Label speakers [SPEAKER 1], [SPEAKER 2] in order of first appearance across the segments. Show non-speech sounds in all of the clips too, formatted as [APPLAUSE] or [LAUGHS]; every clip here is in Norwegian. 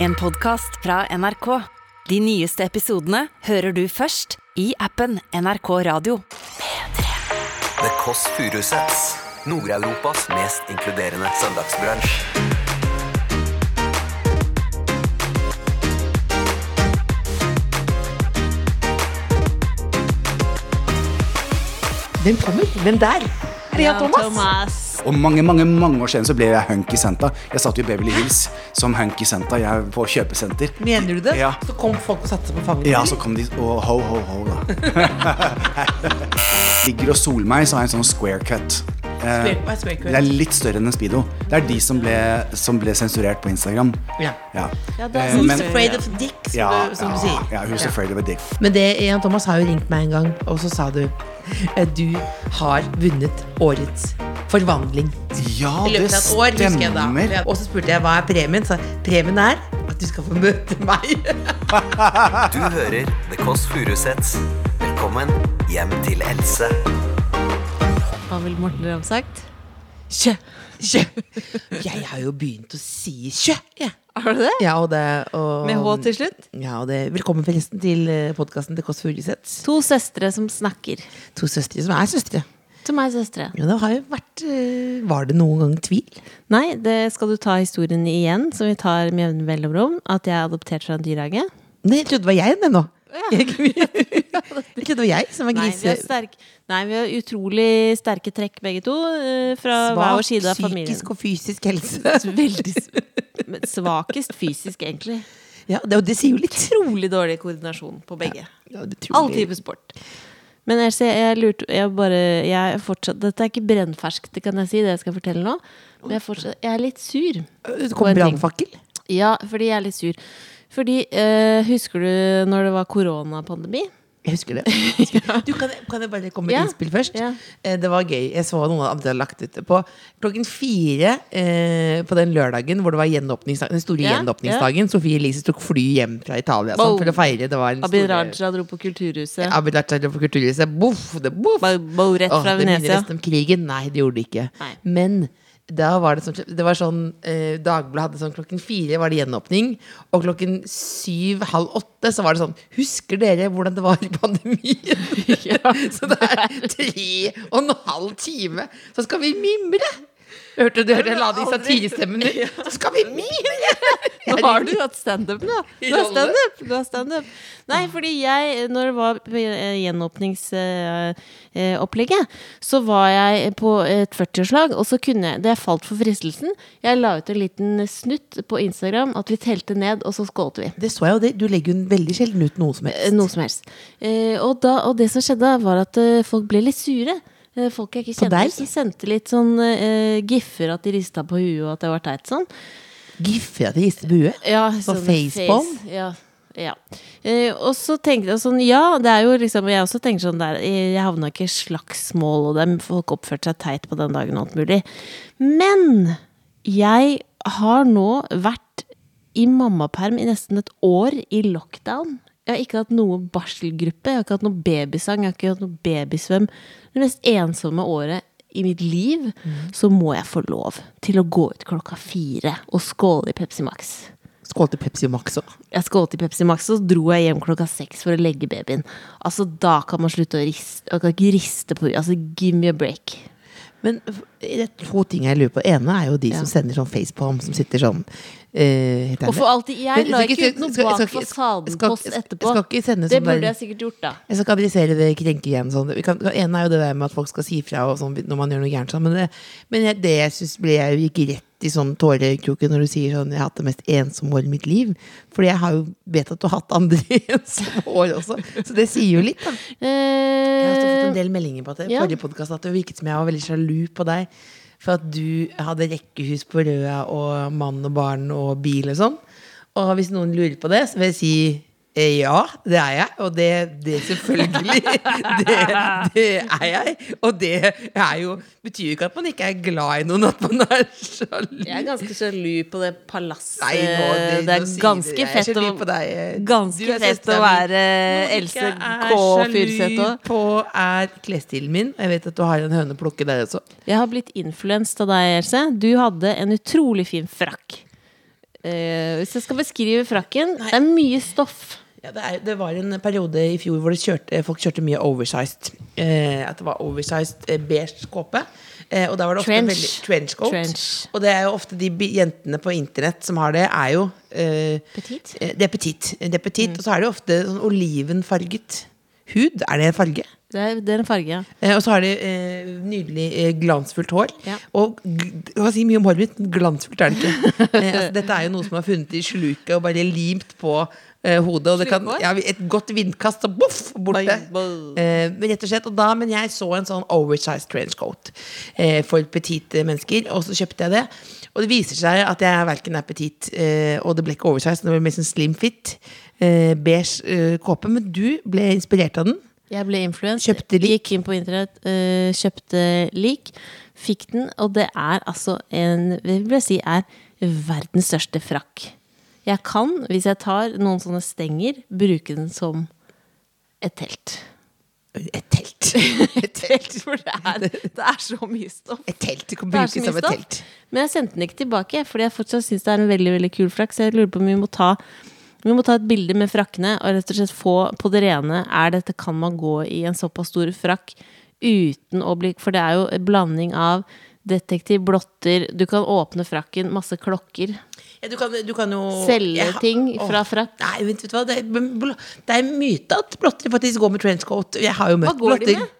[SPEAKER 1] En podcast fra NRK. De nyeste episodene hører du først i appen NRK Radio.
[SPEAKER 2] The Kåss Furuseths. Nord-Europas mest inkluderende søndagsbransj.
[SPEAKER 3] Hvem kommer? Hvem der? Ria Thomas.
[SPEAKER 4] Og mange mange, mange år siden så ble jeg Hunky Senta. Jeg satt jo i Beverly Hills som Hunky Senta jeg på kjøpesenter.
[SPEAKER 3] Mener du det?
[SPEAKER 4] Ja.
[SPEAKER 3] Så kom folk og satte seg på fanget
[SPEAKER 4] Ja, så kom de og ho, ho, ho, da. [LAUGHS] Ligger og Solmeig, så har jeg en sånn square cut. Eh,
[SPEAKER 3] Square- hva er square cut?
[SPEAKER 4] det er litt større enn en speedo. Det er de som ble, som ble sensurert på Instagram.
[SPEAKER 3] Ja.
[SPEAKER 4] Ja.
[SPEAKER 3] Eh,
[SPEAKER 4] Eh,
[SPEAKER 3] Who's
[SPEAKER 4] men-
[SPEAKER 3] afraid of dick, som,
[SPEAKER 4] ja,
[SPEAKER 3] du, som du
[SPEAKER 4] ja,
[SPEAKER 3] sier.
[SPEAKER 4] Ja, who's afraid of a dick.
[SPEAKER 3] Men det, Jan Thomas har jo ringt meg en gang, og så sa du eh, du har vunnet årets forvandling.
[SPEAKER 4] Ja,
[SPEAKER 3] I
[SPEAKER 4] det
[SPEAKER 3] løpet av et år, husker jeg da.
[SPEAKER 4] stemmer.
[SPEAKER 3] Og så spurte jeg hva er premien. Så premien er at du skal få møte meg.
[SPEAKER 2] Du hører The Kåss Furuseths. Velkommen hjem til Else.
[SPEAKER 5] Hva ville Morten Ramm sagt?
[SPEAKER 3] Kjø, kjø. Jeg har jo begynt å si kjø. jeg.
[SPEAKER 5] Har du det?
[SPEAKER 3] Ja, og det, og,
[SPEAKER 5] Med H til slutt?
[SPEAKER 3] Ja, og det, velkommen forresten til podkasten til Kåss Furuseth.
[SPEAKER 5] To søstre som snakker.
[SPEAKER 3] To søstre som er søstre.
[SPEAKER 5] Som er søstre.
[SPEAKER 3] Ja, det har jo vært eh, Var det noen gang tvil?
[SPEAKER 5] Nei, det skal du ta historien igjen, som vi tar med jevne mellomrom. At jeg er adoptert fra en dyrehage.
[SPEAKER 3] Nei, jeg trodde det var jeg den nå. [LAUGHS] Jeg trodde det var jeg som var
[SPEAKER 5] Nei, vi
[SPEAKER 3] grise...
[SPEAKER 5] har sterk- Nei, vi har utrolig sterke trekk begge to. eh, Fra hver vår side av familien.
[SPEAKER 3] psykisk og fysisk helse.
[SPEAKER 5] [LAUGHS] Veldig s- men svakest fysisk, egentlig.
[SPEAKER 3] Ja, det, og det sier jo litt.
[SPEAKER 5] Utrolig dårlig koordinasjon på begge.
[SPEAKER 3] Ja, det tror
[SPEAKER 5] All
[SPEAKER 3] jeg.
[SPEAKER 5] type sport. Men Else, jeg lurte jeg bare, jeg er fortsatt, Dette er ikke brennferskt, det kan jeg si, det jeg skal fortelle nå. Men jeg er, fortsatt, jeg er litt sur.
[SPEAKER 3] Det
[SPEAKER 5] på
[SPEAKER 3] kom
[SPEAKER 5] en ting.
[SPEAKER 3] brannfakkel.
[SPEAKER 5] Ja, fordi jeg er litt sur. Fordi, eh, Husker du når det var koronapandemi?
[SPEAKER 3] Jeg
[SPEAKER 5] [LAUGHS]
[SPEAKER 3] husker det. Du, kan, jeg- kan jeg bare komme med
[SPEAKER 5] Ja,
[SPEAKER 3] et innspill først?
[SPEAKER 5] ja.
[SPEAKER 3] Eh, Det var gøy. Jeg så noen andre hadde lagt ut det på klokken fire eh, på den lørdagen hvor det var gjenåpningsdag, den store
[SPEAKER 5] Ja,
[SPEAKER 3] gjenåpningsdagen. Sofie Elise tok fly hjem fra Italia sånn,
[SPEAKER 5] Wow.
[SPEAKER 3] for å feire. Det var den
[SPEAKER 5] Abid
[SPEAKER 3] store-
[SPEAKER 5] Raja dro på Kulturhuset.
[SPEAKER 3] Abid Raja på Kulturhuset. Boff, det boff.
[SPEAKER 5] Bare bo rett
[SPEAKER 3] Åh,
[SPEAKER 5] fra
[SPEAKER 3] det minner
[SPEAKER 5] Venezia.
[SPEAKER 3] nesten om krigen. Nei, det gjorde det ikke.
[SPEAKER 5] Nei.
[SPEAKER 3] Men da var det sånn, det var sånn eh, Dagbladet hadde sånn klokken fire var det gjenåpning, og klokken syv, halv åtte så var det sånn Husker dere hvordan det var i
[SPEAKER 5] [LAUGHS]
[SPEAKER 3] pandemien? [LAUGHS] så det er tre og en halv time, så skal vi mimre! Hørte du hørte jeg la de satirestemmene? Så skal vi mimre!
[SPEAKER 5] Nå har du hatt standup,
[SPEAKER 3] [LAUGHS]
[SPEAKER 5] da! Du har
[SPEAKER 3] Rolle.
[SPEAKER 5] standup! Du har standup. Nei, fordi jeg, når det var eh, gjenåpningsopplegget, eh, så var jeg på et 40-årslag, og så kunne jeg Da jeg falt for fristelsen, jeg la ut en liten snutt på Instagram at vi telte ned, og så skålte vi.
[SPEAKER 3] Det så jeg jo, det. du legger jo veldig sjelden ut noe som
[SPEAKER 5] Eh,
[SPEAKER 3] helst.
[SPEAKER 5] Noe som helst. Eh, og, da, og det som skjedde, var at eh, folk ble litt sure. Eh, folk jeg ikke
[SPEAKER 3] På
[SPEAKER 5] kjente,
[SPEAKER 3] deg?
[SPEAKER 5] som sendte litt sånn eh, giffer at de rista på huet og at det var teit sånn.
[SPEAKER 3] Giffer jeg til Gisle Bue?
[SPEAKER 5] Ja,
[SPEAKER 3] Så
[SPEAKER 5] sånn
[SPEAKER 3] facepalm?
[SPEAKER 5] face- Ja. ja. Eh, og så tenkte jeg sånn, ja, det er jo liksom Jeg også tenker sånn der, eh, jeg havna ikke i slagsmål, og dem, folk oppførte seg teit på den dagen og alt mulig. Men jeg har nå vært i mammaperm i nesten et år i lockdown. Jeg har ikke hatt noe barselgruppe, jeg har ikke hatt noe babysang, jeg har ikke hatt noe babysvøm. Det mest ensomme året i mitt liv, så må jeg få lov til å gå ut klokka fire og skåle i Pepsi Max.
[SPEAKER 3] Skål til Pepsi Max òg.
[SPEAKER 5] Jeg skålte i Pepsi Max, og så dro jeg hjem klokka seks for å legge babyen. Altså, da kan man slutte å riste. Man kan ikke riste på Altså, give me a break.
[SPEAKER 3] Men f- det er to ting jeg lurer på. Det ene er jo de
[SPEAKER 5] Ja.
[SPEAKER 3] som sender sånn facepalm, som sitter sånn eh, heter
[SPEAKER 5] Og for
[SPEAKER 3] det?
[SPEAKER 5] alltid, jeg
[SPEAKER 3] Men
[SPEAKER 5] la
[SPEAKER 3] skal
[SPEAKER 5] ikke ut
[SPEAKER 3] skal-
[SPEAKER 5] noe
[SPEAKER 3] skal-
[SPEAKER 5] bak
[SPEAKER 3] skal ikke- skal-
[SPEAKER 5] fasaden-post
[SPEAKER 3] skal-
[SPEAKER 5] etterpå.
[SPEAKER 3] Skal ikke sende
[SPEAKER 5] Det
[SPEAKER 3] sånn
[SPEAKER 5] burde
[SPEAKER 3] der,
[SPEAKER 5] jeg sikkert gjort, da.
[SPEAKER 3] jeg skal ikke adressere det krenke igjen. Sånn. Vi kan, det ene er jo det der med at folk skal si fra og sånn, når man gjør noe gærent. Sånn. Men det, men jeg- det jeg synes ble jeg jo gikk rett i sånn tårekroken når du sier sånn jeg har hatt det mest ensomme året i mitt liv. Fordi jeg har jo vet at du har hatt andre [LAUGHS] ensomme år også. Så det sier jo litt, da. Jeg har også fått en
[SPEAKER 5] Eh,
[SPEAKER 3] del meldinger på at det,
[SPEAKER 5] ja.
[SPEAKER 3] forrige podcast, at det virket som jeg var veldig sjalu på deg. For at du hadde rekkehus på Røa og mann og barn og bil og sånn. Og hvis noen lurer på det, så vil jeg si eh, ja, det er jeg. Og det, det selvfølgelig. [LAUGHS] Det, det er jeg. Og det er jo, betyr jo ikke at man ikke er glad i noen, at man er sjalu.
[SPEAKER 5] jeg er ganske sjalu på det palasset.
[SPEAKER 3] Nei, nå-
[SPEAKER 5] det,
[SPEAKER 3] nå
[SPEAKER 5] er
[SPEAKER 3] sier
[SPEAKER 5] ganske
[SPEAKER 3] dere. Jeg er
[SPEAKER 5] fett å
[SPEAKER 3] sjalu på deg. Du
[SPEAKER 5] Ganske
[SPEAKER 3] er
[SPEAKER 5] fett å
[SPEAKER 3] søsteren min.
[SPEAKER 5] være Else K. Furuseth òg.
[SPEAKER 3] på er klesstilen min. Og jeg vet at du har en høne å plukke der også.
[SPEAKER 5] Jeg har blitt influenset av deg, Else. Du hadde en utrolig fin frakk. Eh, hvis jeg skal beskrive frakken Det er mye stoff.
[SPEAKER 3] Ja, det, er, det var en periode i fjor hvor det kjørte, folk kjørte mye oversized. Eh, at det var oversized eh, beige kåpe. Eh, og da var det ofte
[SPEAKER 5] Trench.
[SPEAKER 3] veldig trenchcoat.
[SPEAKER 5] Trench.
[SPEAKER 3] Og det er jo ofte de bi- jentene på internett som har det, er jo eh,
[SPEAKER 5] Petit?
[SPEAKER 3] eh, Det er petit. Det er petit Og så er det jo ofte sånn olivenfarget hud. Er det en farge?
[SPEAKER 5] Det er, det er en farge. ja.
[SPEAKER 3] Eh, og så har de eh, nydelig eh, glansfullt hår.
[SPEAKER 5] Ja.
[SPEAKER 3] Og gl- hva sier mye om håret mitt? men Glansfullt er det ikke. eh, altså, dette er jo noe som er funnet i sluket og bare limt på eh, hodet. Og det kan,
[SPEAKER 5] Slukhår?
[SPEAKER 3] ja, et godt vindkast, og boff, borte.
[SPEAKER 5] Bang, bang.
[SPEAKER 3] Eh, men rett og slett, og da, men jeg så en sånn oversized trenchcoat eh, for petite mennesker, og så kjøpte jeg det. Og det viser seg at jeg verken er petit, eh, og det ble ikke oversized, det ble mer sånn slim fit, eh, beige eh, kåpe. Men du ble inspirert av den.
[SPEAKER 5] Jeg ble influent.
[SPEAKER 3] Kjøpte lik.
[SPEAKER 5] Gikk inn på internett, eh, kjøpte lik, fikk den, og det er altså en vil jeg si er verdens største frakk. Jeg kan, hvis jeg tar noen sånne stenger, bruke den som et telt.
[SPEAKER 3] Et
[SPEAKER 5] [LAUGHS]
[SPEAKER 3] telt. Et telt.
[SPEAKER 5] For det er, det er så mye stoff.
[SPEAKER 3] Et telt. Du kan
[SPEAKER 5] Det er
[SPEAKER 3] bruke
[SPEAKER 5] så
[SPEAKER 3] som
[SPEAKER 5] mye
[SPEAKER 3] et
[SPEAKER 5] stoff.
[SPEAKER 3] telt.
[SPEAKER 5] Men jeg sendte den ikke tilbake, fordi jeg fortsatt syns det er en veldig veldig kul frakk. Så jeg lurer på om vi må ta vi må ta et bilde med frakkene og rett og slett få på det rene er dette kan man gå i en såpass stor frakk uten å bli For det er jo en blanding av detektiv, blotter, du kan åpne frakken, masse klokker.
[SPEAKER 3] Ja, du, kan, du kan jo
[SPEAKER 5] Selge
[SPEAKER 3] Jeg har-
[SPEAKER 5] ting
[SPEAKER 3] Åh.
[SPEAKER 5] fra frakk.
[SPEAKER 3] Nei, vent, vet du hva? Det er, bl- det er en myte at blotter faktisk går med trenchcoat. Jeg har jo møtt
[SPEAKER 5] Hva går de
[SPEAKER 3] blotter.
[SPEAKER 5] med?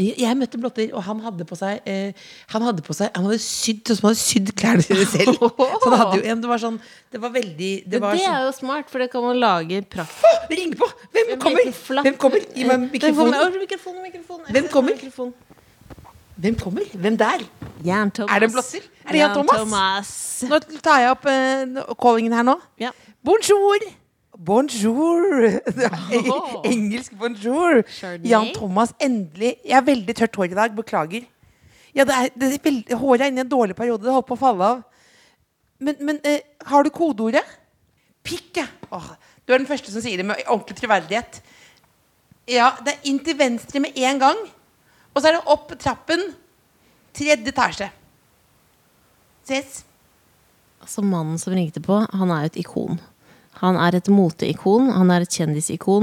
[SPEAKER 3] Jeg jeg møtte blotter, og han hadde på seg eh, Han hadde på seg Han hadde sydd sånn som han hadde sydd klærne sine
[SPEAKER 5] [LAUGHS]
[SPEAKER 3] selv. Så han hadde jo en, det var sånn Det var veldig Det
[SPEAKER 5] Men
[SPEAKER 3] var
[SPEAKER 5] det
[SPEAKER 3] sånn
[SPEAKER 5] er jo smart, for det kan man lage prakt.
[SPEAKER 3] Åh, Ring på! Hvem kommer? Hvem kommer? Gi meg mikrofonen.
[SPEAKER 5] Mikrofon, mikrofon.
[SPEAKER 3] Hvem kommer?
[SPEAKER 5] Mikrofon.
[SPEAKER 3] Hvem kommer? Hvem der?
[SPEAKER 5] Jern-Thomas.
[SPEAKER 3] Er det en blotter? Er det Jan Thomas?
[SPEAKER 5] Thomas?
[SPEAKER 3] Nå tar jeg opp eh, callingen her nå.
[SPEAKER 5] Ja.
[SPEAKER 3] Bonjour! Bonjour! [LAUGHS] Det er
[SPEAKER 5] Åh.
[SPEAKER 3] Engelsk bonjour.
[SPEAKER 5] Chardonnay?
[SPEAKER 3] Jan Thomas, endelig. Jeg har veldig tørt hår i dag. Beklager. Ja, det er, det er veld- håret er inne i en dårlig periode. Det holdt på å falle av. Men, men eh, har du kodeordet? Pikk, ja. Åh, du er den første som sier det med ordentlig troverdighet. Ja, det er inn til venstre med en gang. Og så er det opp trappen. Tredje etasje. Ses.
[SPEAKER 5] Altså, eh, Eh,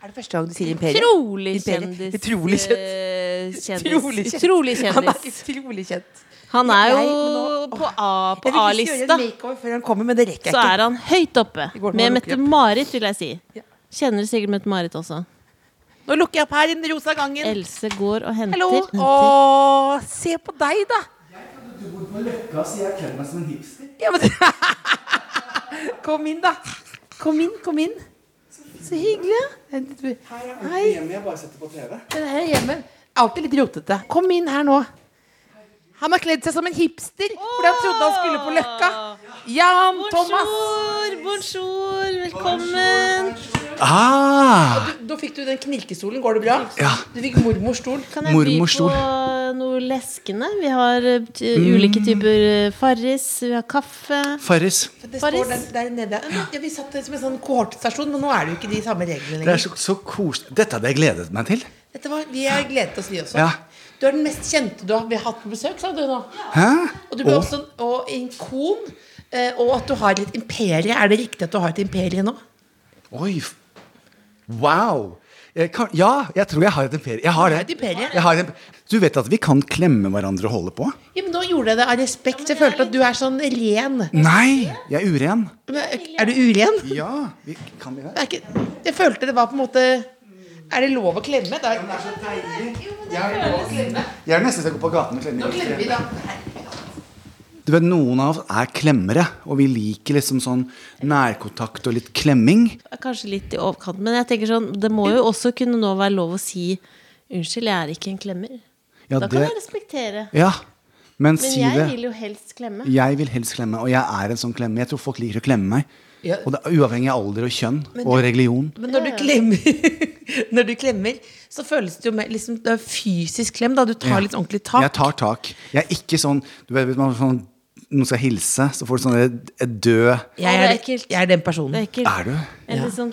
[SPEAKER 3] Er det første gang du sier imperiet?
[SPEAKER 5] Utrolig
[SPEAKER 3] Imperiet.
[SPEAKER 5] kjendis.
[SPEAKER 3] Utrolig kjent.
[SPEAKER 5] eh,
[SPEAKER 3] Utrolig
[SPEAKER 5] kjendis.
[SPEAKER 3] kjent.
[SPEAKER 5] Utrolig
[SPEAKER 3] Han er
[SPEAKER 5] kjendis.
[SPEAKER 3] utrolig kjent.
[SPEAKER 5] Han er
[SPEAKER 3] Jeg-
[SPEAKER 5] jo
[SPEAKER 3] men nå-
[SPEAKER 5] på A- på
[SPEAKER 3] Jeg vil ikke gjøre
[SPEAKER 5] A-lista.
[SPEAKER 3] en makeover før han kommer, men det rekker jeg
[SPEAKER 5] Så
[SPEAKER 3] ikke.
[SPEAKER 5] er han høyt oppe.
[SPEAKER 3] Det går an å
[SPEAKER 5] Med
[SPEAKER 3] lukke opp.
[SPEAKER 5] Mette-Marit, vil jeg si.
[SPEAKER 3] Ja.
[SPEAKER 5] Kjenner sikkert Mette-Marit også.
[SPEAKER 3] Nå lukker jeg opp her i den rosa gangen.
[SPEAKER 5] Else går og henter.
[SPEAKER 3] Hallo.
[SPEAKER 5] henter.
[SPEAKER 3] Å, se på deg, da.
[SPEAKER 4] Du bor på Løkka, så jeg kler meg som en hipster.
[SPEAKER 3] Ja, men, [LAUGHS] kom inn, da. Kom inn, kom inn. Så hyggelig. ja. Hei.
[SPEAKER 4] Hjemme jeg bare setter på TV.
[SPEAKER 3] Den her hjemme er alltid litt rotete. Kom inn her nå. Han har kledd seg som en hipster fordi han trodde han skulle på Løkka. Jan Thomas.
[SPEAKER 5] Bonjour, bonjour, velkommen.
[SPEAKER 4] Ah,
[SPEAKER 3] Da fikk du den knirkestolen. Går det bra?
[SPEAKER 4] Ja.
[SPEAKER 3] Du fikk mormors stol.
[SPEAKER 5] Kan jeg
[SPEAKER 4] Mormors
[SPEAKER 5] by
[SPEAKER 4] stol.
[SPEAKER 5] på noe leskende? Vi har eh, t-
[SPEAKER 4] Mm.
[SPEAKER 5] ulike typer eh, Farris, vi har kaffe.
[SPEAKER 4] Farris.
[SPEAKER 3] Det
[SPEAKER 5] Farris.
[SPEAKER 3] står der, der nede. Ja, vi satt som en sånn kohortstasjon, men nå er det jo ikke de samme reglene
[SPEAKER 4] Det er
[SPEAKER 3] lenger.
[SPEAKER 4] så, så koselig. Dette hadde jeg gledet meg til.
[SPEAKER 3] Dette var, vi har gledet oss, vi også.
[SPEAKER 4] Ja.
[SPEAKER 3] Du er den mest kjente du har vi har hatt på besøk, sa du nå.
[SPEAKER 4] Hæ?
[SPEAKER 3] Og du ble
[SPEAKER 4] Å,
[SPEAKER 3] også en- og en kon, eh, og at du har et imperie. Er det riktig at du har et imperie nå?
[SPEAKER 4] Oi. f- Wow. Jeg kan, ja, jeg tror jeg har et imperie. Jeg har det.
[SPEAKER 3] Du har et imperie.
[SPEAKER 4] Jeg har et imp- du vet at vi kan klemme hverandre og holde på?
[SPEAKER 3] Ja, men nå gjorde jeg det av respekt. Jeg følte at du er sånn ren.
[SPEAKER 4] Nei, jeg er uren.
[SPEAKER 3] Men, er du uren?
[SPEAKER 4] Ja, vi kan vi
[SPEAKER 3] Det er ikke, jeg følte det var på en måte Er det lov å klemme? Da, nå
[SPEAKER 4] Jeg er nesten så jeg går på gaten og klemmer.
[SPEAKER 3] klemmer vi, da.
[SPEAKER 4] Du vet, Noen av oss er klemmere, og vi liker liksom sånn nærkontakt og litt klemming.
[SPEAKER 5] Kanskje litt i overkant, men jeg tenker sånn, det må jo også kunne nå være lov å si unnskyld, jeg er ikke en klemmer.
[SPEAKER 4] Ja,
[SPEAKER 5] da kan jeg respektere.
[SPEAKER 4] Ja, men,
[SPEAKER 5] Men
[SPEAKER 4] si
[SPEAKER 5] jeg
[SPEAKER 4] det.
[SPEAKER 5] vil jo helst klemme.
[SPEAKER 4] Jeg vil helst klemme, og jeg er en sånn klemme. Jeg tror folk liker å klemme meg.
[SPEAKER 3] Ja.
[SPEAKER 4] Og det er Uavhengig av alder og kjønn og religion.
[SPEAKER 3] Men når du klemmer, [LAUGHS] når du klemmer så føles det jo mer liksom, det er fysisk klem. da Du tar litt ordentlig tak.
[SPEAKER 4] Jeg tar tak. Jeg er ikke sånn du vet, man, er sånn noen skal hilse, så får du sånne et død
[SPEAKER 3] Jeg
[SPEAKER 5] det
[SPEAKER 3] er,
[SPEAKER 5] er ekkelt.
[SPEAKER 3] jeg er den
[SPEAKER 5] Det
[SPEAKER 3] personen.
[SPEAKER 5] er ekkelt.
[SPEAKER 4] Er du? Mm.
[SPEAKER 5] En litt sånn,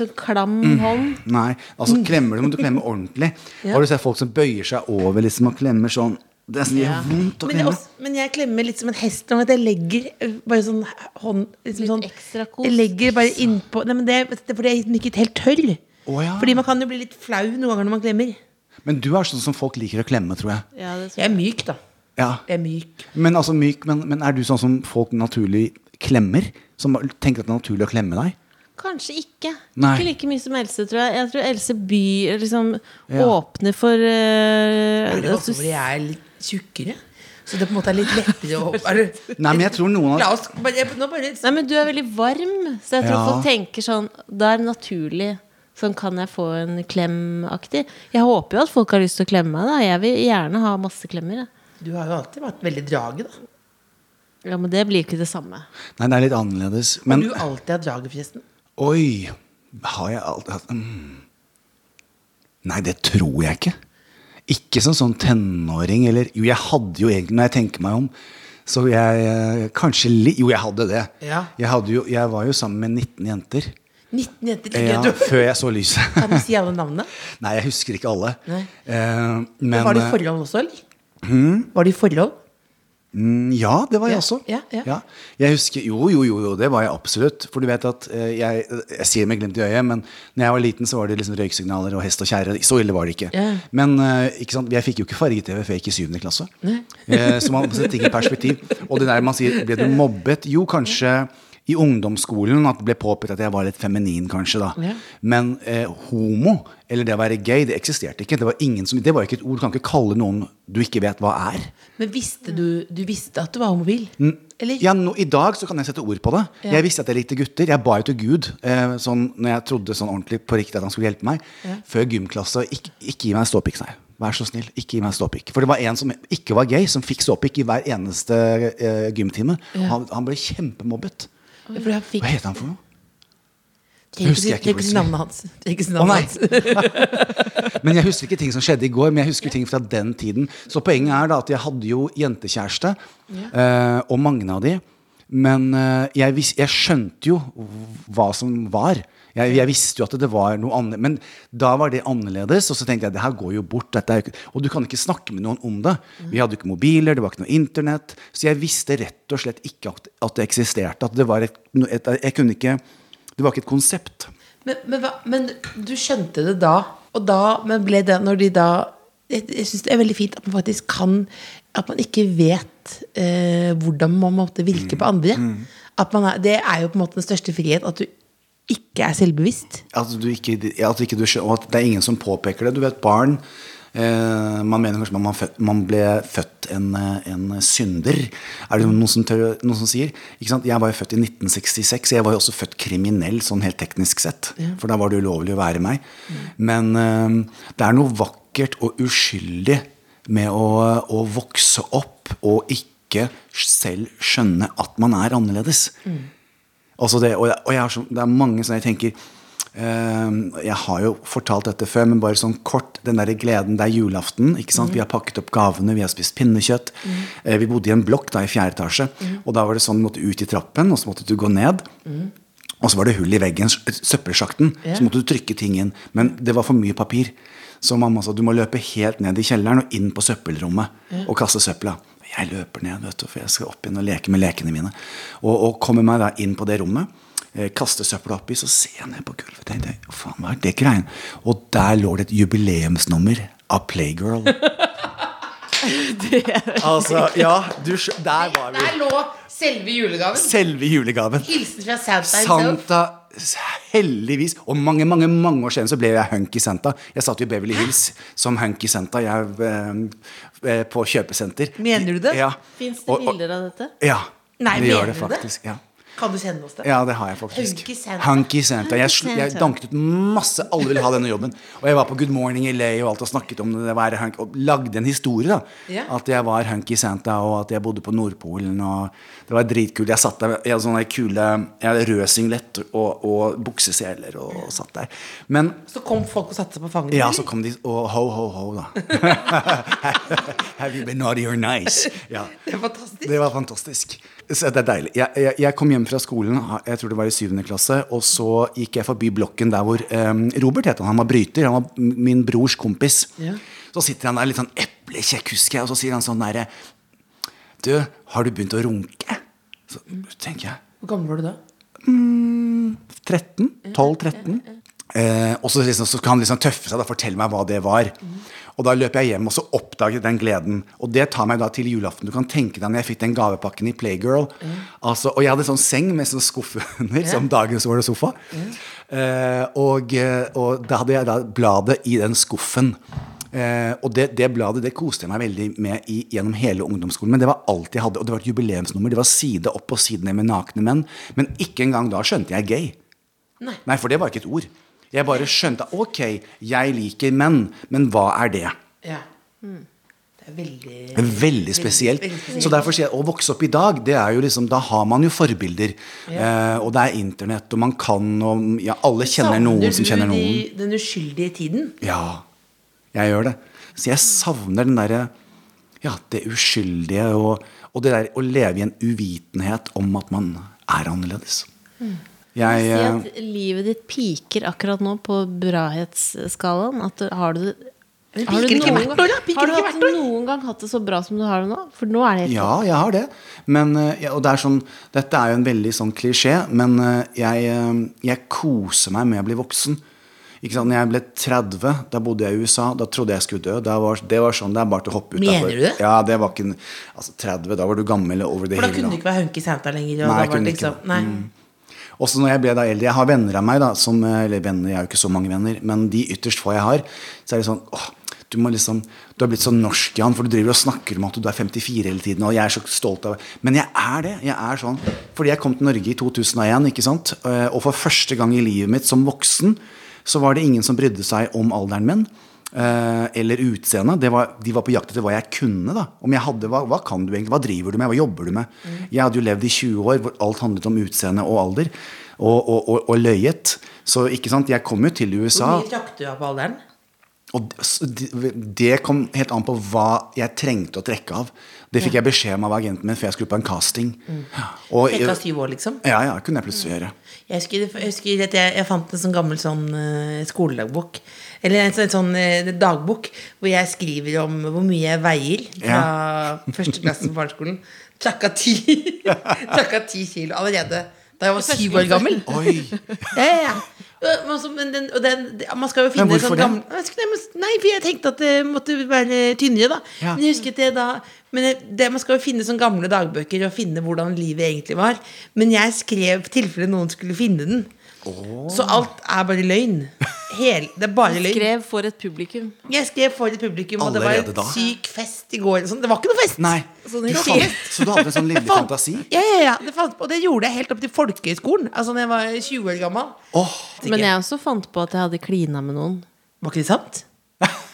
[SPEAKER 5] sånn klam hånd.
[SPEAKER 4] Nei. Altså,
[SPEAKER 3] Mm.
[SPEAKER 4] klemmer du, må du klemme ordentlig.
[SPEAKER 3] [LAUGHS]
[SPEAKER 4] Har du sett folk som bøyer seg over liksom, og klemmer sånn Det er sånn, det gjør vondt å
[SPEAKER 3] Men jeg,
[SPEAKER 4] klemme.
[SPEAKER 3] også, men jeg klemmer litt som en hest. Sånn at jeg legger eh, bare sånn hånd liksom
[SPEAKER 5] Litt
[SPEAKER 3] sånn,
[SPEAKER 5] ekstra kos.
[SPEAKER 3] Jeg legger bare innpå Nei, men det, det er fordi jeg er ikke helt tørr.
[SPEAKER 4] Å, ja.
[SPEAKER 3] Fordi man kan jo bli litt flau noen ganger når man klemmer.
[SPEAKER 4] Men du er sånn som folk liker å klemme, tror jeg.
[SPEAKER 5] Ja, det
[SPEAKER 3] Jeg er myk, da.
[SPEAKER 4] Ja.
[SPEAKER 3] Jeg er myk.
[SPEAKER 4] Men altså myk, men, men er du sånn som folk naturlig klemmer? Som tenker at det er naturlig å klemme deg?
[SPEAKER 5] Kanskje ikke.
[SPEAKER 4] Nei.
[SPEAKER 5] Ikke like mye som Else, tror jeg. Jeg tror Else by liksom
[SPEAKER 4] Ja.
[SPEAKER 5] åpner for eh,
[SPEAKER 3] Er det
[SPEAKER 5] at du-
[SPEAKER 3] også fordi jeg er litt tjukkere? Så det på en måte er [LAUGHS] litt lettere å er det-
[SPEAKER 4] Nei, men jeg tror noen
[SPEAKER 3] La
[SPEAKER 4] av
[SPEAKER 3] oss bare, jeg, nå bare
[SPEAKER 5] Nei, men du er veldig varm, så jeg tror
[SPEAKER 4] Ja.
[SPEAKER 5] folk tenker sånn Da er det naturlig. Sånn kan jeg få en klem-aktig. Jeg håper jo at folk har lyst til å klemme meg. da Jeg vil gjerne ha masse klemmer. Jeg.
[SPEAKER 3] Du har jo alltid vært veldig draget, da.
[SPEAKER 5] Ja, Men det blir jo ikke det samme.
[SPEAKER 4] Nei, det er litt annerledes.
[SPEAKER 3] Men
[SPEAKER 4] Men
[SPEAKER 3] du alltid har draget, forresten.
[SPEAKER 4] oi! Har jeg alltid hatt mm. Nei, det tror jeg ikke. Ikke som sånn tenåring eller Jo, jeg hadde jo egentlig, når jeg tenker meg om så jeg eh, kanskje litt Jo, jeg hadde det.
[SPEAKER 3] Ja.
[SPEAKER 4] Jeg, hadde jo, jeg var jo sammen med 19 jenter
[SPEAKER 3] 19 jenter
[SPEAKER 4] ja,
[SPEAKER 3] ligger
[SPEAKER 4] før jeg så lyset. [LAUGHS]
[SPEAKER 3] Kan du si alle navnene?
[SPEAKER 4] Nei, jeg husker ikke alle.
[SPEAKER 3] Nei.
[SPEAKER 4] Eh, men
[SPEAKER 3] var du i
[SPEAKER 4] eh,
[SPEAKER 3] forhold også, eller? Var du i forhold?
[SPEAKER 4] Mm, Ja, det var jeg
[SPEAKER 3] Ja,
[SPEAKER 4] også.
[SPEAKER 3] ja, ja.
[SPEAKER 4] Jeg husker, jo, jo, jo, jo, det var jeg absolutt. For du vet at eh, jeg, jeg sier det med glimt i øyet, men når jeg var liten, så var det liksom røyksignaler og hest og kjerre. Så ille var det ikke.
[SPEAKER 3] Ja.
[SPEAKER 4] Men eh, ikke sant? jeg fikk jo ikke farge-TV før jeg gikk i syvende klasse. Eh, så man setter ting i perspektiv. Og det der man sier ble du mobbet? Jo, kanskje i ungdomsskolen at det ble påpekt at jeg var litt feminin, kanskje. da.
[SPEAKER 3] Ja.
[SPEAKER 4] Men eh, homo, eller det å være gay, det eksisterte ikke. Det var, ingen som, det var jo ikke et ord. Du kan ikke kalle noen du ikke vet hva er.
[SPEAKER 3] Men visste du Du visste at du var homobil? Eller?
[SPEAKER 4] Ja, nå- I dag så kan jeg sette ord på det. Jeg visste at jeg likte gutter. Jeg ba jo til Gud eh, sånn, når jeg trodde sånn ordentlig på riktig at han skulle hjelpe meg. Før gymklasse. Ikke, ikke gi meg en ståpikk, sa jeg. Vær så snill, ikke gi meg en ståpikk. For det var en som ikke var gay, som fikk ståpikk i hver eneste eh, gymtime. Og Han, han ble kjempemobbet.
[SPEAKER 3] For jeg fikk
[SPEAKER 4] Hva heter han for noe?
[SPEAKER 3] Trenger ikke
[SPEAKER 4] husker
[SPEAKER 3] si-
[SPEAKER 4] jeg
[SPEAKER 3] trenger
[SPEAKER 4] ikke
[SPEAKER 3] ikke si
[SPEAKER 4] plutselig.
[SPEAKER 3] navnet hans. Trenger ikke si
[SPEAKER 4] Å
[SPEAKER 3] navnet
[SPEAKER 4] nei!
[SPEAKER 3] hans.
[SPEAKER 4] men jeg husker ikke ting som skjedde i går, men jeg husker ting fra den tiden. Så poenget er da at jeg hadde jo jentekjæreste, eh, og mange av de. Men eh, jeg, vis, jeg skjønte jo hva som var. Jeg, jeg visste jo at det var noe annet. Men da var det annerledes, og så tenkte jeg det her går jo bort. Dette er jo ikke, og du kan ikke snakke med noen om det. Vi hadde jo ikke mobiler, det var ikke noe internett. Så jeg visste rett og slett ikke at, at det eksisterte. At det var et, no- et, jeg kunne ikke, det var ikke et konsept.
[SPEAKER 3] Men, men, hva- men du skjønte det da, og da men ble det når de da Jeg, jeg syns det er veldig fint at man faktisk kan At man ikke vet eh, hvordan man måtte virke
[SPEAKER 4] Mm.
[SPEAKER 3] på andre. At man er, det er jo på en måte den største frihet, at du ikke er selvbevisst.
[SPEAKER 4] At Altså, du ikke, at ikke du, skjø- og at det er ingen som påpeker det. Du vet, barn eh, Man mener kanskje man, var født, man ble født en, eh, en synder. Er det noen som, tør, noen som sier? Ikke sant? Jeg var jo født i 1966, så jeg var jo også født kriminell sånn helt teknisk sett. For da var det ulovlig å være meg. Men eh, det er noe vakkert og uskyldig med å, å vokse opp og ikke selv skjønne at man er annerledes. Altså det, og jeg, og jeg har så, det er mange sånne jeg tenker eh, Jeg har jo fortalt dette før, men bare sånn kort. Den der gleden det er julaften. ikke sant? Vi har pakket opp gavene, vi har spist pinnekjøtt. Eh, vi bodde i en blokk da i fjerde etasje. Og da var det sånn du måtte ut i trappen, og så måtte du gå ned. Og så var det hull i veggen, s- søppelsjakten.
[SPEAKER 3] Ja.
[SPEAKER 4] Så måtte du trykke ting inn. Men det var for mye papir. Så mamma sa du må løpe helt ned i kjelleren og inn på søppelrommet og kaste søpla. Jeg løper ned, vet du, for jeg skal opp igjen og leke med lekene mine. Og, og kommer meg da inn på det rommet, eh, kaster søpla oppi, så ser jeg ned på gulvet. Tenkte, jeg, «Å, faen, hva er det greien? Og der lå det et jubileumsnummer av Playgirl. altså, ja, du, skj- der var vi.
[SPEAKER 3] Der lå selve julegaven.
[SPEAKER 4] Selve julegaven.
[SPEAKER 3] Hilsen fra Santa himself.
[SPEAKER 4] Santa Heldigvis. Og mange mange, mange år siden så ble jeg Hunky Santa. Jeg satt jo i Beverly Hills som Hunky Santa jeg, eh, eh, på kjøpesenter.
[SPEAKER 3] Mener du det?
[SPEAKER 4] Ja.
[SPEAKER 5] Fins det
[SPEAKER 4] Og- og-
[SPEAKER 5] bilder av dette?
[SPEAKER 4] Ja.
[SPEAKER 3] Nei,
[SPEAKER 4] det gjør
[SPEAKER 3] mener
[SPEAKER 4] det
[SPEAKER 3] du det?
[SPEAKER 4] faktisk. Ja.
[SPEAKER 3] Kan du sende oss det?
[SPEAKER 4] Ja, det har jeg faktisk.
[SPEAKER 3] Hunky Santa.
[SPEAKER 4] Hunky Santa. Jeg, sl- jeg
[SPEAKER 5] Santa.
[SPEAKER 4] danket ut masse. Alle ville ha denne jobben. Og jeg var på Good Morning LA og alt og snakket om det. det var hunk, og lagde en historie, da.
[SPEAKER 3] Ja.
[SPEAKER 4] At jeg var Hunky Santa, og at jeg bodde på Nordpolen. Og det var dritkult. Jeg satt der jeg hadde sånne kule Jeg hadde rød singlet og, og bukseseler og satt der. Men
[SPEAKER 3] Så kom folk og satte seg på fanget?
[SPEAKER 4] ja,
[SPEAKER 3] eller?
[SPEAKER 4] så kom de og ho, ho, ho,
[SPEAKER 3] [LAUGHS]
[SPEAKER 4] da. [LAUGHS] Have you been naughty or nice? Ja.
[SPEAKER 3] Det er fantastisk.
[SPEAKER 4] Det var fantastisk. Så det er deilig. Jeg, jeg, jeg kom hjem fra skolen, jeg tror det var i syvende klasse, og så gikk jeg forbi blokken der hvor eh, Robert het han. Han var bryter. Han var m- min brors kompis.
[SPEAKER 3] Ja.
[SPEAKER 4] Så sitter han der litt sånn eplekjekk, husker jeg, og så sier han sånn derre Du, har du begynt å runke? Så tenker jeg
[SPEAKER 3] Hvor gammel var du da?
[SPEAKER 4] 13, 12-13. Eh, og så, liksom, så kan han liksom tøffe seg og fortelle meg hva det var. Og da løper jeg hjem og så oppdager jeg den gleden. Og det tar meg da til julaften. Du kan tenke deg når jeg fikk den gavepakken i Playgirl. Altså, og jeg hadde sånn seng med sånn skuff under, som dagens var det sofa. Eh, og, eh, og da hadde jeg da bladet i den skuffen. Eh, og det, det bladet det koste jeg meg veldig med i, gjennom hele ungdomsskolen. Men det var alt jeg hadde, og det var et jubileumsnummer. Det var side opp og side ned med nakne menn. Men ikke engang da skjønte jeg gay.
[SPEAKER 3] Nei.
[SPEAKER 4] for det var ikke et ord. Jeg bare skjønte ok, jeg liker menn, men hva er det?
[SPEAKER 3] Ja. Mm. Det er veldig
[SPEAKER 4] Veldig spesielt.
[SPEAKER 3] veldig spesielt.
[SPEAKER 4] Så derfor sier jeg, Å vokse opp i dag, det er jo liksom, da har man jo forbilder. Eh, og det er internett, og man kan, og ja, alle kjenner noen som kjenner
[SPEAKER 3] Savner
[SPEAKER 4] noen.
[SPEAKER 3] du de- den uskyldige tiden?
[SPEAKER 4] Ja, jeg gjør det. Så jeg savner den derre Ja, det uskyldige og, og det der å leve i en uvitenhet om at man er annerledes.
[SPEAKER 3] Mm.
[SPEAKER 4] Jeg
[SPEAKER 5] Si
[SPEAKER 4] eh,
[SPEAKER 5] at livet ditt piker akkurat nå på brahetsskalaen. At du, har du
[SPEAKER 3] Men
[SPEAKER 5] har du
[SPEAKER 3] piker ikke
[SPEAKER 5] noen
[SPEAKER 3] hvert
[SPEAKER 5] gang-
[SPEAKER 3] år, da? Piker
[SPEAKER 5] Har du
[SPEAKER 3] ikke
[SPEAKER 5] hatt
[SPEAKER 3] hvert år?
[SPEAKER 5] noen gang hatt det så bra som du har det nå? For nå er det helt
[SPEAKER 4] Ja, jeg har det. Men, eh, ja, og det er sånn, dette er jo en veldig sånn klisjé, men eh, jeg, eh, jeg koser meg med å bli voksen. Ikke sant? Når jeg ble 30, da bodde jeg i USA. Da trodde jeg skulle dø. Da var, det var sånn, det er bare til å hoppe ut.
[SPEAKER 3] Mener
[SPEAKER 4] derfor.
[SPEAKER 3] du det?
[SPEAKER 4] Ja, det var ikke en- Altså, 30, da var du gammel og over det
[SPEAKER 3] For da
[SPEAKER 4] hele,
[SPEAKER 3] kunne du ikke være hunky Santa lenger. Og
[SPEAKER 4] Nei,
[SPEAKER 3] da var
[SPEAKER 4] jeg
[SPEAKER 3] det
[SPEAKER 4] kunne
[SPEAKER 3] liksom,
[SPEAKER 4] ikke. Mm.
[SPEAKER 3] nei.
[SPEAKER 4] Også når jeg ble da eldre Jeg har venner av meg da som, Eller venner, jeg har jo ikke så mange venner Men de ytterst få jeg har Så er det sånn åh, du, må liksom, du har blitt så norsk, Jan For du driver og snakker om at du er 54 hele tiden Og jeg er så stolt av Men jeg er det, jeg er sånn Fordi jeg kom til Norge i 2001, ikke sant Eh, Og for første gang i livet mitt som voksen Så var det ingen som brydde seg om alderen min eh, eller utseende. Det var, de var på jakt etter hva jeg kunne. da Om jeg hadde, hva, hva kan du egentlig, hva driver du med, hva jobber du med? Jeg hadde jo levd i 20 år hvor alt handlet om utseende og alder. Og, og, og, og løyet. Så ikke sant, jeg kom jo til
[SPEAKER 3] Hvor
[SPEAKER 4] USA.
[SPEAKER 3] mye trakk du av på alderen?
[SPEAKER 4] Og d- s- d- det kom helt an på hva jeg trengte å trekke av. Det fikk jeg beskjed om av agenten min før jeg skulle på en casting. Og,
[SPEAKER 3] Cirka syv år, liksom?
[SPEAKER 4] Ja, ja, kunne jeg plutselig [LAUGHS] gjøre.
[SPEAKER 3] Jeg husker, jeg husker at jeg, jeg fant en sånn gammel sånn eh, skoledagbok. Eller en sånn, sånn eh, dagbok hvor jeg skriver om hvor mye jeg veier fra [LAUGHS] første klasse på barneskolen. Trakka ti, [LAUGHS] trakka ti kilo allerede da jeg var syv år gammel.
[SPEAKER 4] Oi!
[SPEAKER 3] Ja, ja, ja. Øh, men så- men den, og den, det- man skal jo finne
[SPEAKER 4] hvorfor
[SPEAKER 3] sånn
[SPEAKER 4] det?
[SPEAKER 3] gammel Jeg skulle- nei, men- Nei, for jeg tenkte at det måtte være tynnere, da.
[SPEAKER 4] Ja.
[SPEAKER 3] Men jeg husker at det da Men det, man skal jo finne sånn gamle dagbøker og finne hvordan livet egentlig var. Men jeg skrev i tilfelle noen skulle finne den. Så alt er bare løgn. Hel, det er bare
[SPEAKER 5] topp.
[SPEAKER 3] løgn.
[SPEAKER 5] Skrev for et publikum.
[SPEAKER 3] Jeg skrev for et publikum, og det var
[SPEAKER 4] Allerede
[SPEAKER 3] en
[SPEAKER 4] da?
[SPEAKER 3] syk fest i går. eller Sånn. Det var ikke noe fest!
[SPEAKER 4] Nei.
[SPEAKER 3] Sånn
[SPEAKER 4] du
[SPEAKER 3] helt-
[SPEAKER 4] fant, så [LAUGHS] du hadde en sånn lille
[SPEAKER 3] Fant-
[SPEAKER 4] fantasi?
[SPEAKER 3] Ja, ja, ja. Det fant, og det gjorde jeg helt opp til folkehøyskolen. Altså da jeg var 20 år gammel.
[SPEAKER 4] Åh,
[SPEAKER 5] Men jeg også fant på at jeg hadde klina med noen.
[SPEAKER 3] Var ikke det sant?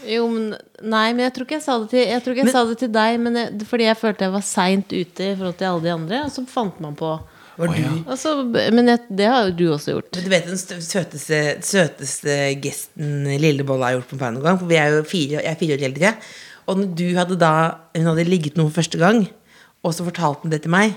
[SPEAKER 5] Jo, men, nei, men jeg tror ikke jeg sa det til, jeg tror ikke jeg sa det til deg, men jeg, fordi jeg følte jeg var seint ute i forhold til alle de andre. Og så fant man på.
[SPEAKER 3] Var
[SPEAKER 4] Å,
[SPEAKER 3] du
[SPEAKER 4] ja.
[SPEAKER 5] Og så, men jeg, det har jo du også gjort.
[SPEAKER 3] Men du vet den stø- søteste, søteste gesten Lillebolla har gjort på meg noen gang? For vi er jo fire, jeg er fire år eldre. Og når du hadde da hun hadde ligget med noen første gang, og så fortalte hun det til meg.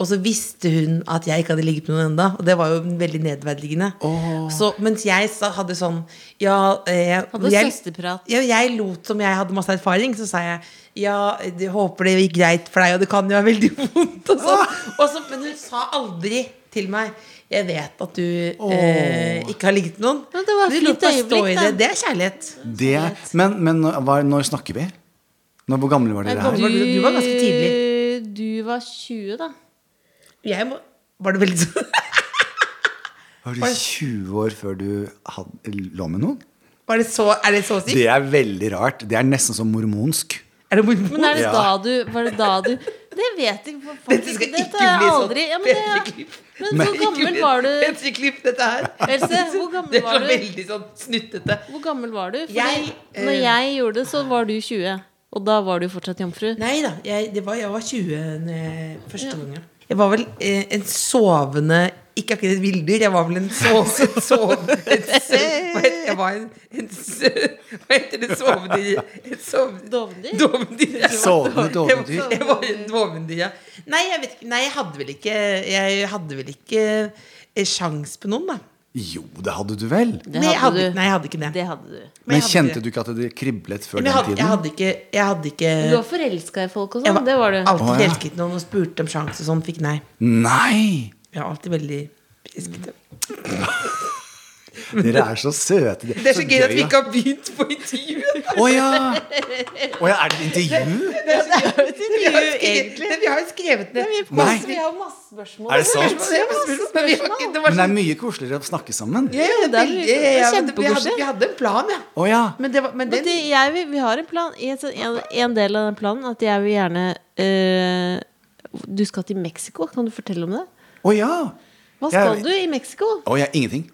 [SPEAKER 3] Og så visste hun at jeg ikke hadde ligget med noen enda Og det var jo veldig nedverdigende. Så, mens jeg sa, hadde sånn ja, eh,
[SPEAKER 5] Hadde
[SPEAKER 3] jeg-
[SPEAKER 5] søsterprat.
[SPEAKER 3] Ja, jeg lot som jeg hadde masse erfaring, så sa jeg ja, jeg håper det gikk greit for deg, og det kan jo være veldig vondt. Og
[SPEAKER 5] [LAUGHS]
[SPEAKER 3] så, og så, men hun sa aldri til meg jeg vet at du eh, ikke har ligget med noen.
[SPEAKER 5] Men det var et
[SPEAKER 3] du lot
[SPEAKER 5] fint
[SPEAKER 3] meg stå i det.
[SPEAKER 5] øyeblikk, da.
[SPEAKER 3] Det er kjærlighet.
[SPEAKER 4] det, men men hva, når snakker vi? Når, hvor gamle var dere her?
[SPEAKER 3] Du- du var ganske
[SPEAKER 5] Du var 20, da.
[SPEAKER 3] Jeg må, var det veldig sånn
[SPEAKER 4] Var du 20 år før du had, lå med noen?
[SPEAKER 3] [LAUGHS] var det så, Er det så sykt?
[SPEAKER 4] Det er veldig rart. Det er nesten som mormonsk.
[SPEAKER 3] Er det mormor?
[SPEAKER 5] Men er det
[SPEAKER 4] Ja.
[SPEAKER 5] da du Var det da du Det vet jeg faktisk
[SPEAKER 3] Dette skal
[SPEAKER 5] Dette
[SPEAKER 3] ikke
[SPEAKER 5] har jeg
[SPEAKER 3] bli sånn
[SPEAKER 5] aldri- ja, men det-
[SPEAKER 3] P3-klipp.
[SPEAKER 5] Men hvor gammel var du?
[SPEAKER 3] P3-klipp, dette her.
[SPEAKER 5] Else, hvor gammel
[SPEAKER 3] det er så
[SPEAKER 5] var du?
[SPEAKER 3] veldig sånn snuttete.
[SPEAKER 5] Hvor gammel var du? Fordi
[SPEAKER 3] Jeg, eh,
[SPEAKER 5] når jeg gjorde det, så var du 20. Og da var du fortsatt jomfru.
[SPEAKER 3] Nei da, jeg, det var, jeg var 20 når jeg- første gangen. Jeg var vel eh, en sovende Ikke akkurat et villdyr, jeg var vel [LAUGHS] en sovende, sovende et, sø- hva heter- Jeg var en, en sø- Hva heter det sovende Et sovende
[SPEAKER 5] Dovendyr?
[SPEAKER 3] Dovendyr. Jeg var
[SPEAKER 4] Sovende
[SPEAKER 3] dov- jeg var-
[SPEAKER 4] dovendyr.
[SPEAKER 3] Jeg var en dovendyr, ja. Nei, jeg vet ikke. Nei, jeg hadde vel ikke Jeg hadde vel ikke eh, sjans på noen, da.
[SPEAKER 4] Jo, det hadde du vel.
[SPEAKER 5] Det
[SPEAKER 3] nei, jeg hadde,
[SPEAKER 5] hadde du.
[SPEAKER 3] nei, jeg hadde ikke Eh. det.
[SPEAKER 5] Det hadde du.
[SPEAKER 4] Men
[SPEAKER 3] jeg hadde
[SPEAKER 4] kjente
[SPEAKER 3] det.
[SPEAKER 4] du ikke at det kriblet før
[SPEAKER 3] Men jeg
[SPEAKER 4] den
[SPEAKER 3] hadde, jeg
[SPEAKER 4] tiden?
[SPEAKER 3] hadde ikke, jeg hadde ikke
[SPEAKER 5] Du var forelska i folk og
[SPEAKER 3] Jeg var
[SPEAKER 5] sånn. Det var du.
[SPEAKER 4] Å,
[SPEAKER 3] alltid
[SPEAKER 4] ja.
[SPEAKER 3] elsket noen og spurte om sjans og sånn, fikk nei.
[SPEAKER 4] Nei!
[SPEAKER 3] Jeg var alltid veldig elsket.
[SPEAKER 4] Dere er så søte.
[SPEAKER 3] Mm. Det er så gøy at vi
[SPEAKER 4] da.
[SPEAKER 3] ikke har begynt på
[SPEAKER 4] [LAUGHS]
[SPEAKER 3] intervjuet!
[SPEAKER 4] Å ja! Å ja, er det et intervju?
[SPEAKER 3] Vi har jo skrevet, Nei, vi har jo skrevet det.
[SPEAKER 4] Nei,
[SPEAKER 5] Vi har masse spørsmål.
[SPEAKER 4] er det sant?
[SPEAKER 3] Det var spørsmål, men vi har ikke- det var
[SPEAKER 4] Men
[SPEAKER 3] sånn-
[SPEAKER 4] det er mye koseligere å snakke sammen.
[SPEAKER 3] Ja, ja,
[SPEAKER 5] det er
[SPEAKER 3] veldig-
[SPEAKER 5] mye- det er
[SPEAKER 3] ja, men det- vi hadde-
[SPEAKER 5] kjempekoselig.
[SPEAKER 3] Vi hadde en plan, ja.
[SPEAKER 4] Å ja.
[SPEAKER 3] Men det var men den,
[SPEAKER 5] Men det, jeg, vil- vi har en plan. En, sånn- en, en del av den planen at jeg vil gjerne eh, Du skal til Mexico. Kan du fortelle om det?
[SPEAKER 4] Å ja.
[SPEAKER 5] Hva skal
[SPEAKER 4] Jeg-
[SPEAKER 5] du i Mexico?
[SPEAKER 4] Å ja, ingenting.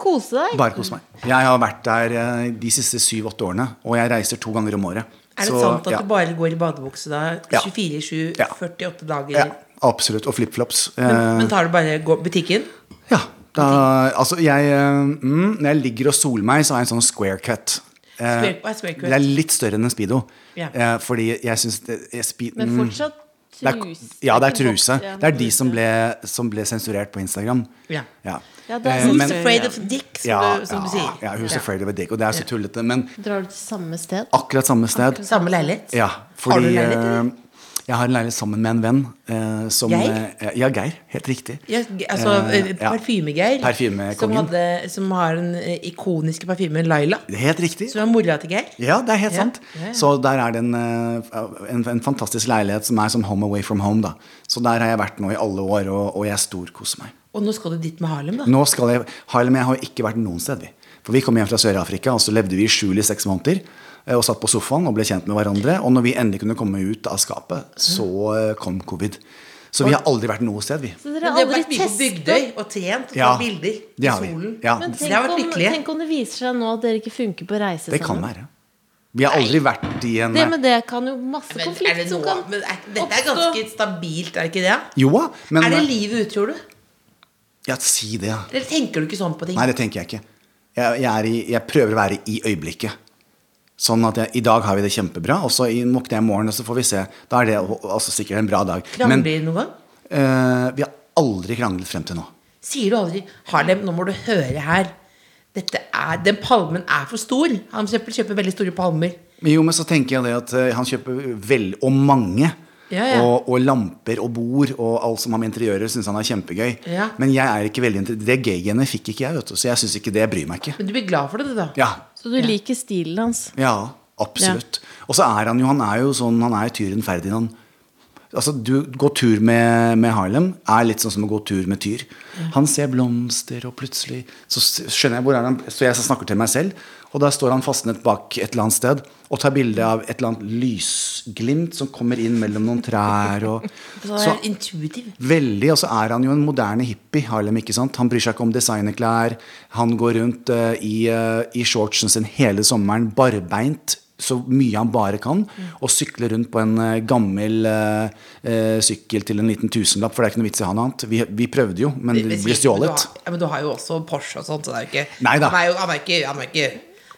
[SPEAKER 5] Kose deg?
[SPEAKER 4] Bare kos meg. Jeg har vært der eh, de siste syv-åtte årene, og jeg reiser to ganger om året.
[SPEAKER 3] Er det
[SPEAKER 4] Så,
[SPEAKER 3] sant at
[SPEAKER 4] ja.
[SPEAKER 3] du bare går i badebukse da?
[SPEAKER 4] Ja.
[SPEAKER 3] 24, 7,
[SPEAKER 4] Ja.
[SPEAKER 3] 48 dager?
[SPEAKER 4] Ja, absolutt. Og flipflops.
[SPEAKER 3] Men,
[SPEAKER 4] Eh,
[SPEAKER 3] men tar du bare gå- butikken?
[SPEAKER 4] ja. Da, altså, jeg eh, mm, Når jeg ligger og soler meg, så har jeg en sånn square cut. Eh,
[SPEAKER 3] Square- hva er square cut?
[SPEAKER 4] Det er litt større enn en speedo.
[SPEAKER 3] Ja.
[SPEAKER 4] Eh, fordi jeg syns det- jeg spe-
[SPEAKER 5] Men
[SPEAKER 4] mm.
[SPEAKER 5] fortsatt
[SPEAKER 4] Det er-
[SPEAKER 5] truse.
[SPEAKER 4] Ja, det er
[SPEAKER 5] ikke boks,
[SPEAKER 4] truse.
[SPEAKER 5] ja.
[SPEAKER 4] Det er de som ble, som ble sensurert på Instagram.
[SPEAKER 3] Ja.
[SPEAKER 5] Ja, det er
[SPEAKER 4] Eh,
[SPEAKER 5] sånn
[SPEAKER 4] men-
[SPEAKER 3] Who's afraid of dick, som,
[SPEAKER 4] ja,
[SPEAKER 3] du, som du
[SPEAKER 4] ja,
[SPEAKER 3] sier.
[SPEAKER 4] Ja, who's afraid of a dick. Og det er så tullete. Men
[SPEAKER 5] Drar du til samme sted?
[SPEAKER 4] akkurat samme sted.
[SPEAKER 3] Samme leilighet?
[SPEAKER 4] Ja, fordi
[SPEAKER 3] Har du leilighet, eller?
[SPEAKER 4] eh, Jeg har en leilighet sammen med en venn. eh, som,
[SPEAKER 3] Geir?
[SPEAKER 4] eh, Ja, Geir. Helt riktig.
[SPEAKER 3] Ja, altså,
[SPEAKER 4] Eh, ja.
[SPEAKER 3] Parfymegeir,
[SPEAKER 4] Parfymekongen.
[SPEAKER 3] som, hadde- som har den eh, ikoniske parfymen Laila.
[SPEAKER 4] Helt riktig.
[SPEAKER 3] Som er mora til Geir.
[SPEAKER 4] Ja, det er helt
[SPEAKER 3] Ja,
[SPEAKER 4] sant.
[SPEAKER 3] ja, ja.
[SPEAKER 4] Så der er det en, eh, en, en fantastisk leilighet som er som home away from home. Da. Så der har jeg vært nå i alle år, og, og jeg storkoser meg.
[SPEAKER 3] Og nå skal du dit med Harlem, da.
[SPEAKER 4] Nå skal jeg, Harlem og jeg har jo ikke vært noen sted, vi. For vi kom hjem fra Sør-Afrika, og så levde vi i skjul i seks måneder. eh, Og satt på sofaen og ble kjent med hverandre. Og når vi endelig kunne komme ut av skapet, så eh, kom covid. Så vi har aldri vært noe sted, vi.
[SPEAKER 5] Så
[SPEAKER 3] Men
[SPEAKER 5] dere har
[SPEAKER 3] det har
[SPEAKER 5] aldri
[SPEAKER 3] vært mye på
[SPEAKER 5] testa
[SPEAKER 3] Bygdøy og trent og
[SPEAKER 4] Ja,
[SPEAKER 3] tatt bilder i
[SPEAKER 4] det har vi.
[SPEAKER 3] solen.
[SPEAKER 4] Ja.
[SPEAKER 5] Men
[SPEAKER 3] Så det har
[SPEAKER 5] tenk
[SPEAKER 3] vært
[SPEAKER 5] om,
[SPEAKER 3] lykkelige.
[SPEAKER 5] tenk om det viser seg nå at dere ikke funker på å reise
[SPEAKER 4] Det kan
[SPEAKER 5] sammen.
[SPEAKER 4] være. Vi har aldri vært i en
[SPEAKER 5] Det med det kan jo masse
[SPEAKER 3] Men er
[SPEAKER 5] konflikt
[SPEAKER 3] det
[SPEAKER 5] som
[SPEAKER 3] noe-
[SPEAKER 5] kan
[SPEAKER 3] men er, dette er
[SPEAKER 5] oppstå.
[SPEAKER 3] ganske stabilt, er det ikke det?
[SPEAKER 4] Jo da, men eh,
[SPEAKER 3] er det livet ut, tror du?
[SPEAKER 4] Ja, si det. ja.
[SPEAKER 3] Eller tenker du ikke sånn på ting?
[SPEAKER 4] Nei, det tenker jeg ikke. Jeg, jeg, er i, jeg prøver å være i øyeblikket. Sånn at jeg, I dag har vi det kjempebra, og så i- våkner jeg i morgen, og så får vi se. Da er det altså, sikkert en bra dag. Men
[SPEAKER 3] Krangler du noen gang?
[SPEAKER 4] eh, vi har aldri kranglet frem til nå.
[SPEAKER 3] Sier du aldri 'Harlem, nå må du høre her'. Dette er, den palmen er for stor. Han kjøper, kjøper veldig store palmer.
[SPEAKER 4] Men Jo, men så tenker jeg det at eh, han kjøper vel og mange.
[SPEAKER 3] Ja, ja.
[SPEAKER 4] Og, og lamper og bord og alt som har med interiører syns han er kjempegøy.
[SPEAKER 3] Ja.
[SPEAKER 4] Men jeg er ikke veldig interessert. Det gay-genet fikk ikke jeg, vet du. Så jeg syns ikke det. Jeg bryr meg ikke.
[SPEAKER 3] Men du blir glad for det, du, da.
[SPEAKER 4] Ja,
[SPEAKER 5] Så du liker stilen hans.
[SPEAKER 4] ja absolutt. Og så er han jo han er jo sånn, han er jo tyren Ferdinand. Altså, du Gå tur med, med Harlem er litt sånn som å gå tur med Tyr. Han ser blomster, og plutselig så s- skjønner jeg hvor er han Så jeg snakker til meg selv, og der står han fastnet bak et eller annet sted og tar bilde av et eller annet lysglimt som kommer inn mellom noen trær. Og,
[SPEAKER 3] [LAUGHS] Så
[SPEAKER 4] så,
[SPEAKER 3] er intuitiv.
[SPEAKER 4] veldig, og så er han jo en moderne hippie, Harlem. ikke sant? Han bryr seg ikke om designerklær. Han går rundt eh, i, eh, i shortsen sin hele sommeren, barbeint. Så mye han bare kan. Og sykler rundt på en eh, gammel eh, eh, sykkel til en liten tusenlapp, for det er ikke noe vits i å ha noe annet. Vi, vi prøvde jo, men det ble stjålet.
[SPEAKER 3] Men du, har, ja, men du har jo også Porsche og sånt, så det er jo ikke
[SPEAKER 4] Nei da.
[SPEAKER 3] Han, er jo, han, er ikke, han, er ikke,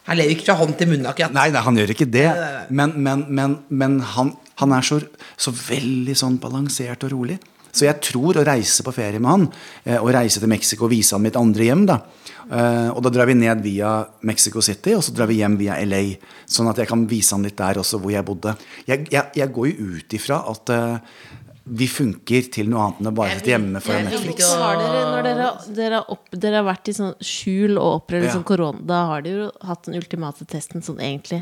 [SPEAKER 3] han lever ikke fra hånd til munn, akkurat.
[SPEAKER 4] Nei, nei, han gjør ikke det.
[SPEAKER 3] nei, nei.
[SPEAKER 4] Men, men, men, men han, han er så, så veldig sånn balansert og rolig. Så jeg tror å reise på ferie med han, eh, og reise til Mexico og vise han mitt andre hjem, da. Eh, Og da drar vi ned via Mexico City, og så drar vi hjem via LA. Sånn at jeg kan vise han litt der også, hvor jeg bodde. Jeg, jeg, jeg går jo ut ifra at eh, vi funker til noe annet enn å bare sitte hjemme
[SPEAKER 3] jeg
[SPEAKER 4] foran
[SPEAKER 3] vil
[SPEAKER 4] Netflix.
[SPEAKER 3] ikke
[SPEAKER 5] Så har dere, når dere, dere, har opp, dere har vært i sånn skjul og opplevd
[SPEAKER 4] Ja.
[SPEAKER 5] sånn korona, da har dere jo hatt den ultimate testen sånn egentlig.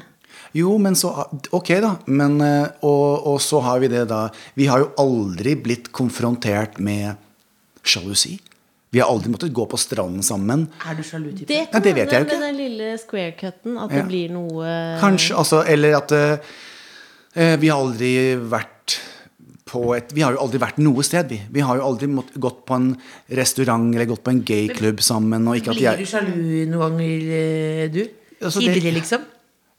[SPEAKER 4] Jo, men så Ok, da. Men, eh, og, og så har vi det, da. Vi har jo aldri blitt konfrontert med sjalusi. Vi har aldri måttet gå på stranden sammen.
[SPEAKER 3] Er du sjalu type?
[SPEAKER 5] Det
[SPEAKER 4] Ja,
[SPEAKER 5] kan
[SPEAKER 4] det vet jeg
[SPEAKER 5] hende
[SPEAKER 4] jo
[SPEAKER 5] med den lille square cutten at det
[SPEAKER 4] Ja.
[SPEAKER 5] blir noe
[SPEAKER 4] eh, Kanskje, altså Eller at eh, eh, vi har aldri vært på et Vi har jo aldri vært noe sted, vi. Vi har jo aldri mått, gått på en restaurant eller gått på en gayklubb sammen. Og ikke at
[SPEAKER 3] Blir du
[SPEAKER 4] jeg,
[SPEAKER 3] sjalu noen ganger, eh, du?
[SPEAKER 4] Altså, det-
[SPEAKER 3] Tidlig, liksom?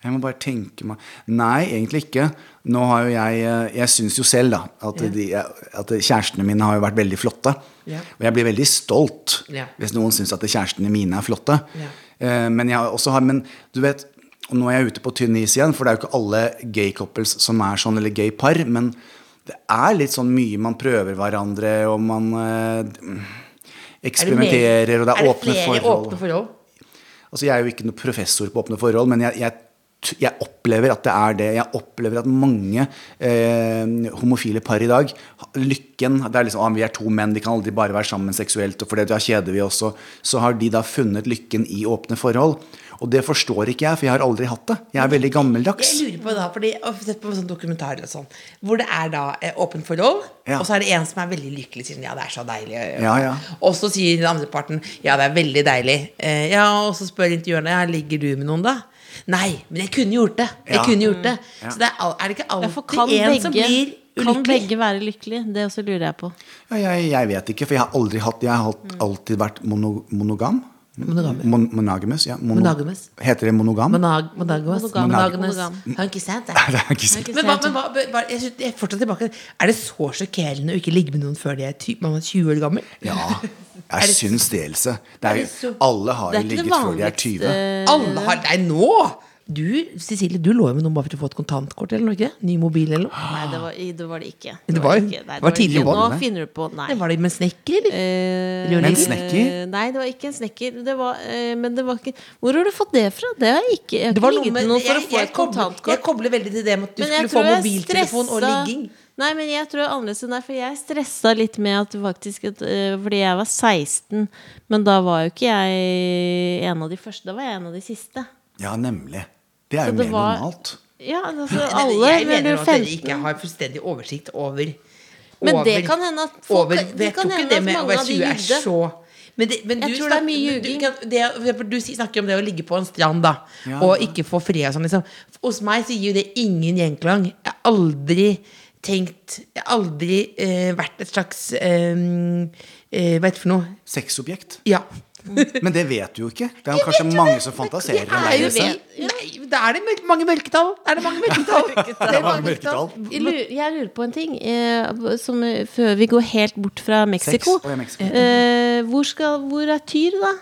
[SPEAKER 4] jeg må bare tenke meg Nei, egentlig ikke. Nå har jo jeg eh, Jeg syns jo selv, da, at, de, eh, at kjærestene mine har jo vært veldig flotte.
[SPEAKER 3] Ja.
[SPEAKER 4] Og jeg blir veldig stolt
[SPEAKER 3] Ja.
[SPEAKER 4] hvis noen syns at kjærestene mine er flotte.
[SPEAKER 3] Ja.
[SPEAKER 4] Eh, Men jeg har også har Men du vet og Nå er jeg ute på tynn is igjen, for det er jo ikke alle gay couples som er sånn, eller gay par, men det er litt sånn mye man prøver hverandre, og man eh,
[SPEAKER 3] Er det mer-
[SPEAKER 4] eksperimenterer, og det er, åpne
[SPEAKER 3] flere
[SPEAKER 4] forhold.
[SPEAKER 3] åpne forhold?
[SPEAKER 4] Altså, jeg er jo ikke noen professor på åpne forhold, men jeg, jeg, t- jeg opplever at det er det. Jeg opplever at mange eh, homofile par i dag ha- Lykken Det er liksom ah, vi er to menn, vi kan aldri bare være sammen seksuelt, og for det da kjeder vi oss. og Så har de da funnet lykken i åpne forhold. Og det forstår ikke jeg, for jeg har aldri hatt det. Jeg er veldig gammeldags.
[SPEAKER 3] Jeg lurer på da, fordi jeg har sett på sånn dokumentar eller sånn, hvor det er da eh, åpent forhold,
[SPEAKER 4] Ja.
[SPEAKER 3] og så er det en som er veldig lykkelig, sier den, ja, det er så deilig. og-
[SPEAKER 4] Ja, ja.
[SPEAKER 3] Og så sier den andre parten, ja, det er veldig deilig. Eh, ja, og så spør intervjuerne, ja, ligger du med noen da? Nei, men jeg kunne gjort det. Jeg
[SPEAKER 4] Ja.
[SPEAKER 3] kunne gjort det. Så det er, al- er det ikke
[SPEAKER 5] Derfor
[SPEAKER 3] alltid
[SPEAKER 5] kan
[SPEAKER 3] en som
[SPEAKER 5] begge,
[SPEAKER 3] blir
[SPEAKER 5] kan
[SPEAKER 3] ulykkelig?
[SPEAKER 5] begge være lykkelige. Det også lurer jeg på.
[SPEAKER 4] Ja, jeg, jeg vet ikke, for jeg har aldri hatt Jeg har hatt- alltid vært mono, monogam.
[SPEAKER 3] Monogam.
[SPEAKER 4] Mon, monogamous, ja. Mono,
[SPEAKER 3] Monogamous.
[SPEAKER 4] Heter det monogam? [LAUGHS]
[SPEAKER 3] Monag, monogamous.
[SPEAKER 5] Monogam.
[SPEAKER 3] Monogamous.
[SPEAKER 5] Monogam.
[SPEAKER 3] Har ikke sant det?
[SPEAKER 4] Mm. det er ikke sikkert.
[SPEAKER 3] Men hva, men hva, bare- jeg, synes- jeg er fortsatt tilbake Er det så sjokkerende å ikke ligge med noen før de er ty, man er 20 år gammel?
[SPEAKER 4] Ja.
[SPEAKER 5] [LAUGHS]
[SPEAKER 3] Er
[SPEAKER 4] Jeg
[SPEAKER 3] det-
[SPEAKER 4] syns det, Else. Det er,
[SPEAKER 3] det så-
[SPEAKER 4] jo- alle har
[SPEAKER 5] Det
[SPEAKER 4] jo
[SPEAKER 5] er ikke det
[SPEAKER 4] ligget før de er 20.
[SPEAKER 5] vanligste
[SPEAKER 3] Alle har Nei, nå! Du, Cecilie, du lå jo med noen bare for å få et kontantkort, eller noe? ikke det? Ny mobil, eller noe?
[SPEAKER 5] Nei, det var, det var det ikke.
[SPEAKER 3] Det var jo-
[SPEAKER 5] ikke. Nei,
[SPEAKER 3] det var
[SPEAKER 5] ikke.
[SPEAKER 3] tidlig,
[SPEAKER 4] var det
[SPEAKER 5] Nå
[SPEAKER 4] det?
[SPEAKER 5] finner du på Nei.
[SPEAKER 3] Det var det med snekker, eller?
[SPEAKER 5] Eh,
[SPEAKER 3] Med en
[SPEAKER 4] snekker?
[SPEAKER 5] eh, Nei, det var ikke en snekker. Det var, eh, men det var ikke Hvor har du fått det fra? Det har jeg ikke. Jeg har
[SPEAKER 3] Det var
[SPEAKER 5] ikke ligget med noen for å få et
[SPEAKER 3] kobler, jeg
[SPEAKER 5] kontantkort.
[SPEAKER 3] kobler veldig til det med at du
[SPEAKER 5] Men jeg
[SPEAKER 3] skulle få
[SPEAKER 5] tror jeg
[SPEAKER 3] mobiltelefon og
[SPEAKER 5] stressa-
[SPEAKER 3] ligging.
[SPEAKER 5] Nei, men jeg tror jeg er annerledes enn deg, for jeg stressa litt med at faktisk at, eh, Fordi jeg var 16, men da var jo ikke jeg en av de første. Da var jeg en av de siste.
[SPEAKER 4] Ja, nemlig. Det er
[SPEAKER 5] Så
[SPEAKER 4] jo
[SPEAKER 5] det
[SPEAKER 4] mer
[SPEAKER 5] var-
[SPEAKER 4] normalt.
[SPEAKER 5] Ja, altså
[SPEAKER 3] Men
[SPEAKER 5] alle
[SPEAKER 3] jeg mener
[SPEAKER 5] når
[SPEAKER 3] jo
[SPEAKER 5] du
[SPEAKER 3] at dere
[SPEAKER 5] 15.
[SPEAKER 3] ikke har fullstendig oversikt over
[SPEAKER 5] Men det
[SPEAKER 3] over-
[SPEAKER 5] kan hende at folk-
[SPEAKER 3] over,
[SPEAKER 5] det
[SPEAKER 3] Jeg
[SPEAKER 5] kan
[SPEAKER 3] tror ikke
[SPEAKER 5] hende
[SPEAKER 3] det
[SPEAKER 5] at
[SPEAKER 3] med å
[SPEAKER 5] mange
[SPEAKER 3] være
[SPEAKER 5] av de
[SPEAKER 3] 20 er
[SPEAKER 5] jugde.
[SPEAKER 3] så men det, men
[SPEAKER 5] Jeg
[SPEAKER 3] du
[SPEAKER 5] tror det er
[SPEAKER 3] snakker-
[SPEAKER 5] mye
[SPEAKER 3] du- du-
[SPEAKER 5] ljuging.
[SPEAKER 3] kan- det- for eksempel, Du si- snakker om det å ligge på en strand da
[SPEAKER 4] Ja.
[SPEAKER 3] og ikke få fred. Og sånn, liksom. Hos meg så gir jo det ingen gjenklang. Jeg har aldri tenkt Jeg har aldri eh, vært et slags eh, eh, Hva heter det for noe?
[SPEAKER 5] [LAUGHS]
[SPEAKER 4] Sexobjekt.
[SPEAKER 3] Ja.
[SPEAKER 4] Men det vet du jo ikke. Det er jo kanskje mange som fantaserer om
[SPEAKER 3] er
[SPEAKER 4] deg.
[SPEAKER 3] jo
[SPEAKER 4] Else.
[SPEAKER 3] vel- Nei, da er det mørk- mange mørketall! Da Er det mange
[SPEAKER 4] [LAUGHS]
[SPEAKER 3] mørketall? Det er mange mørketall.
[SPEAKER 5] Jeg lurer, jeg lurer på en ting eh, som, eh, før vi går helt bort fra Mexico.
[SPEAKER 4] Sex og Mexico.
[SPEAKER 5] Eh, hvor, skal, hvor er Tyr, da?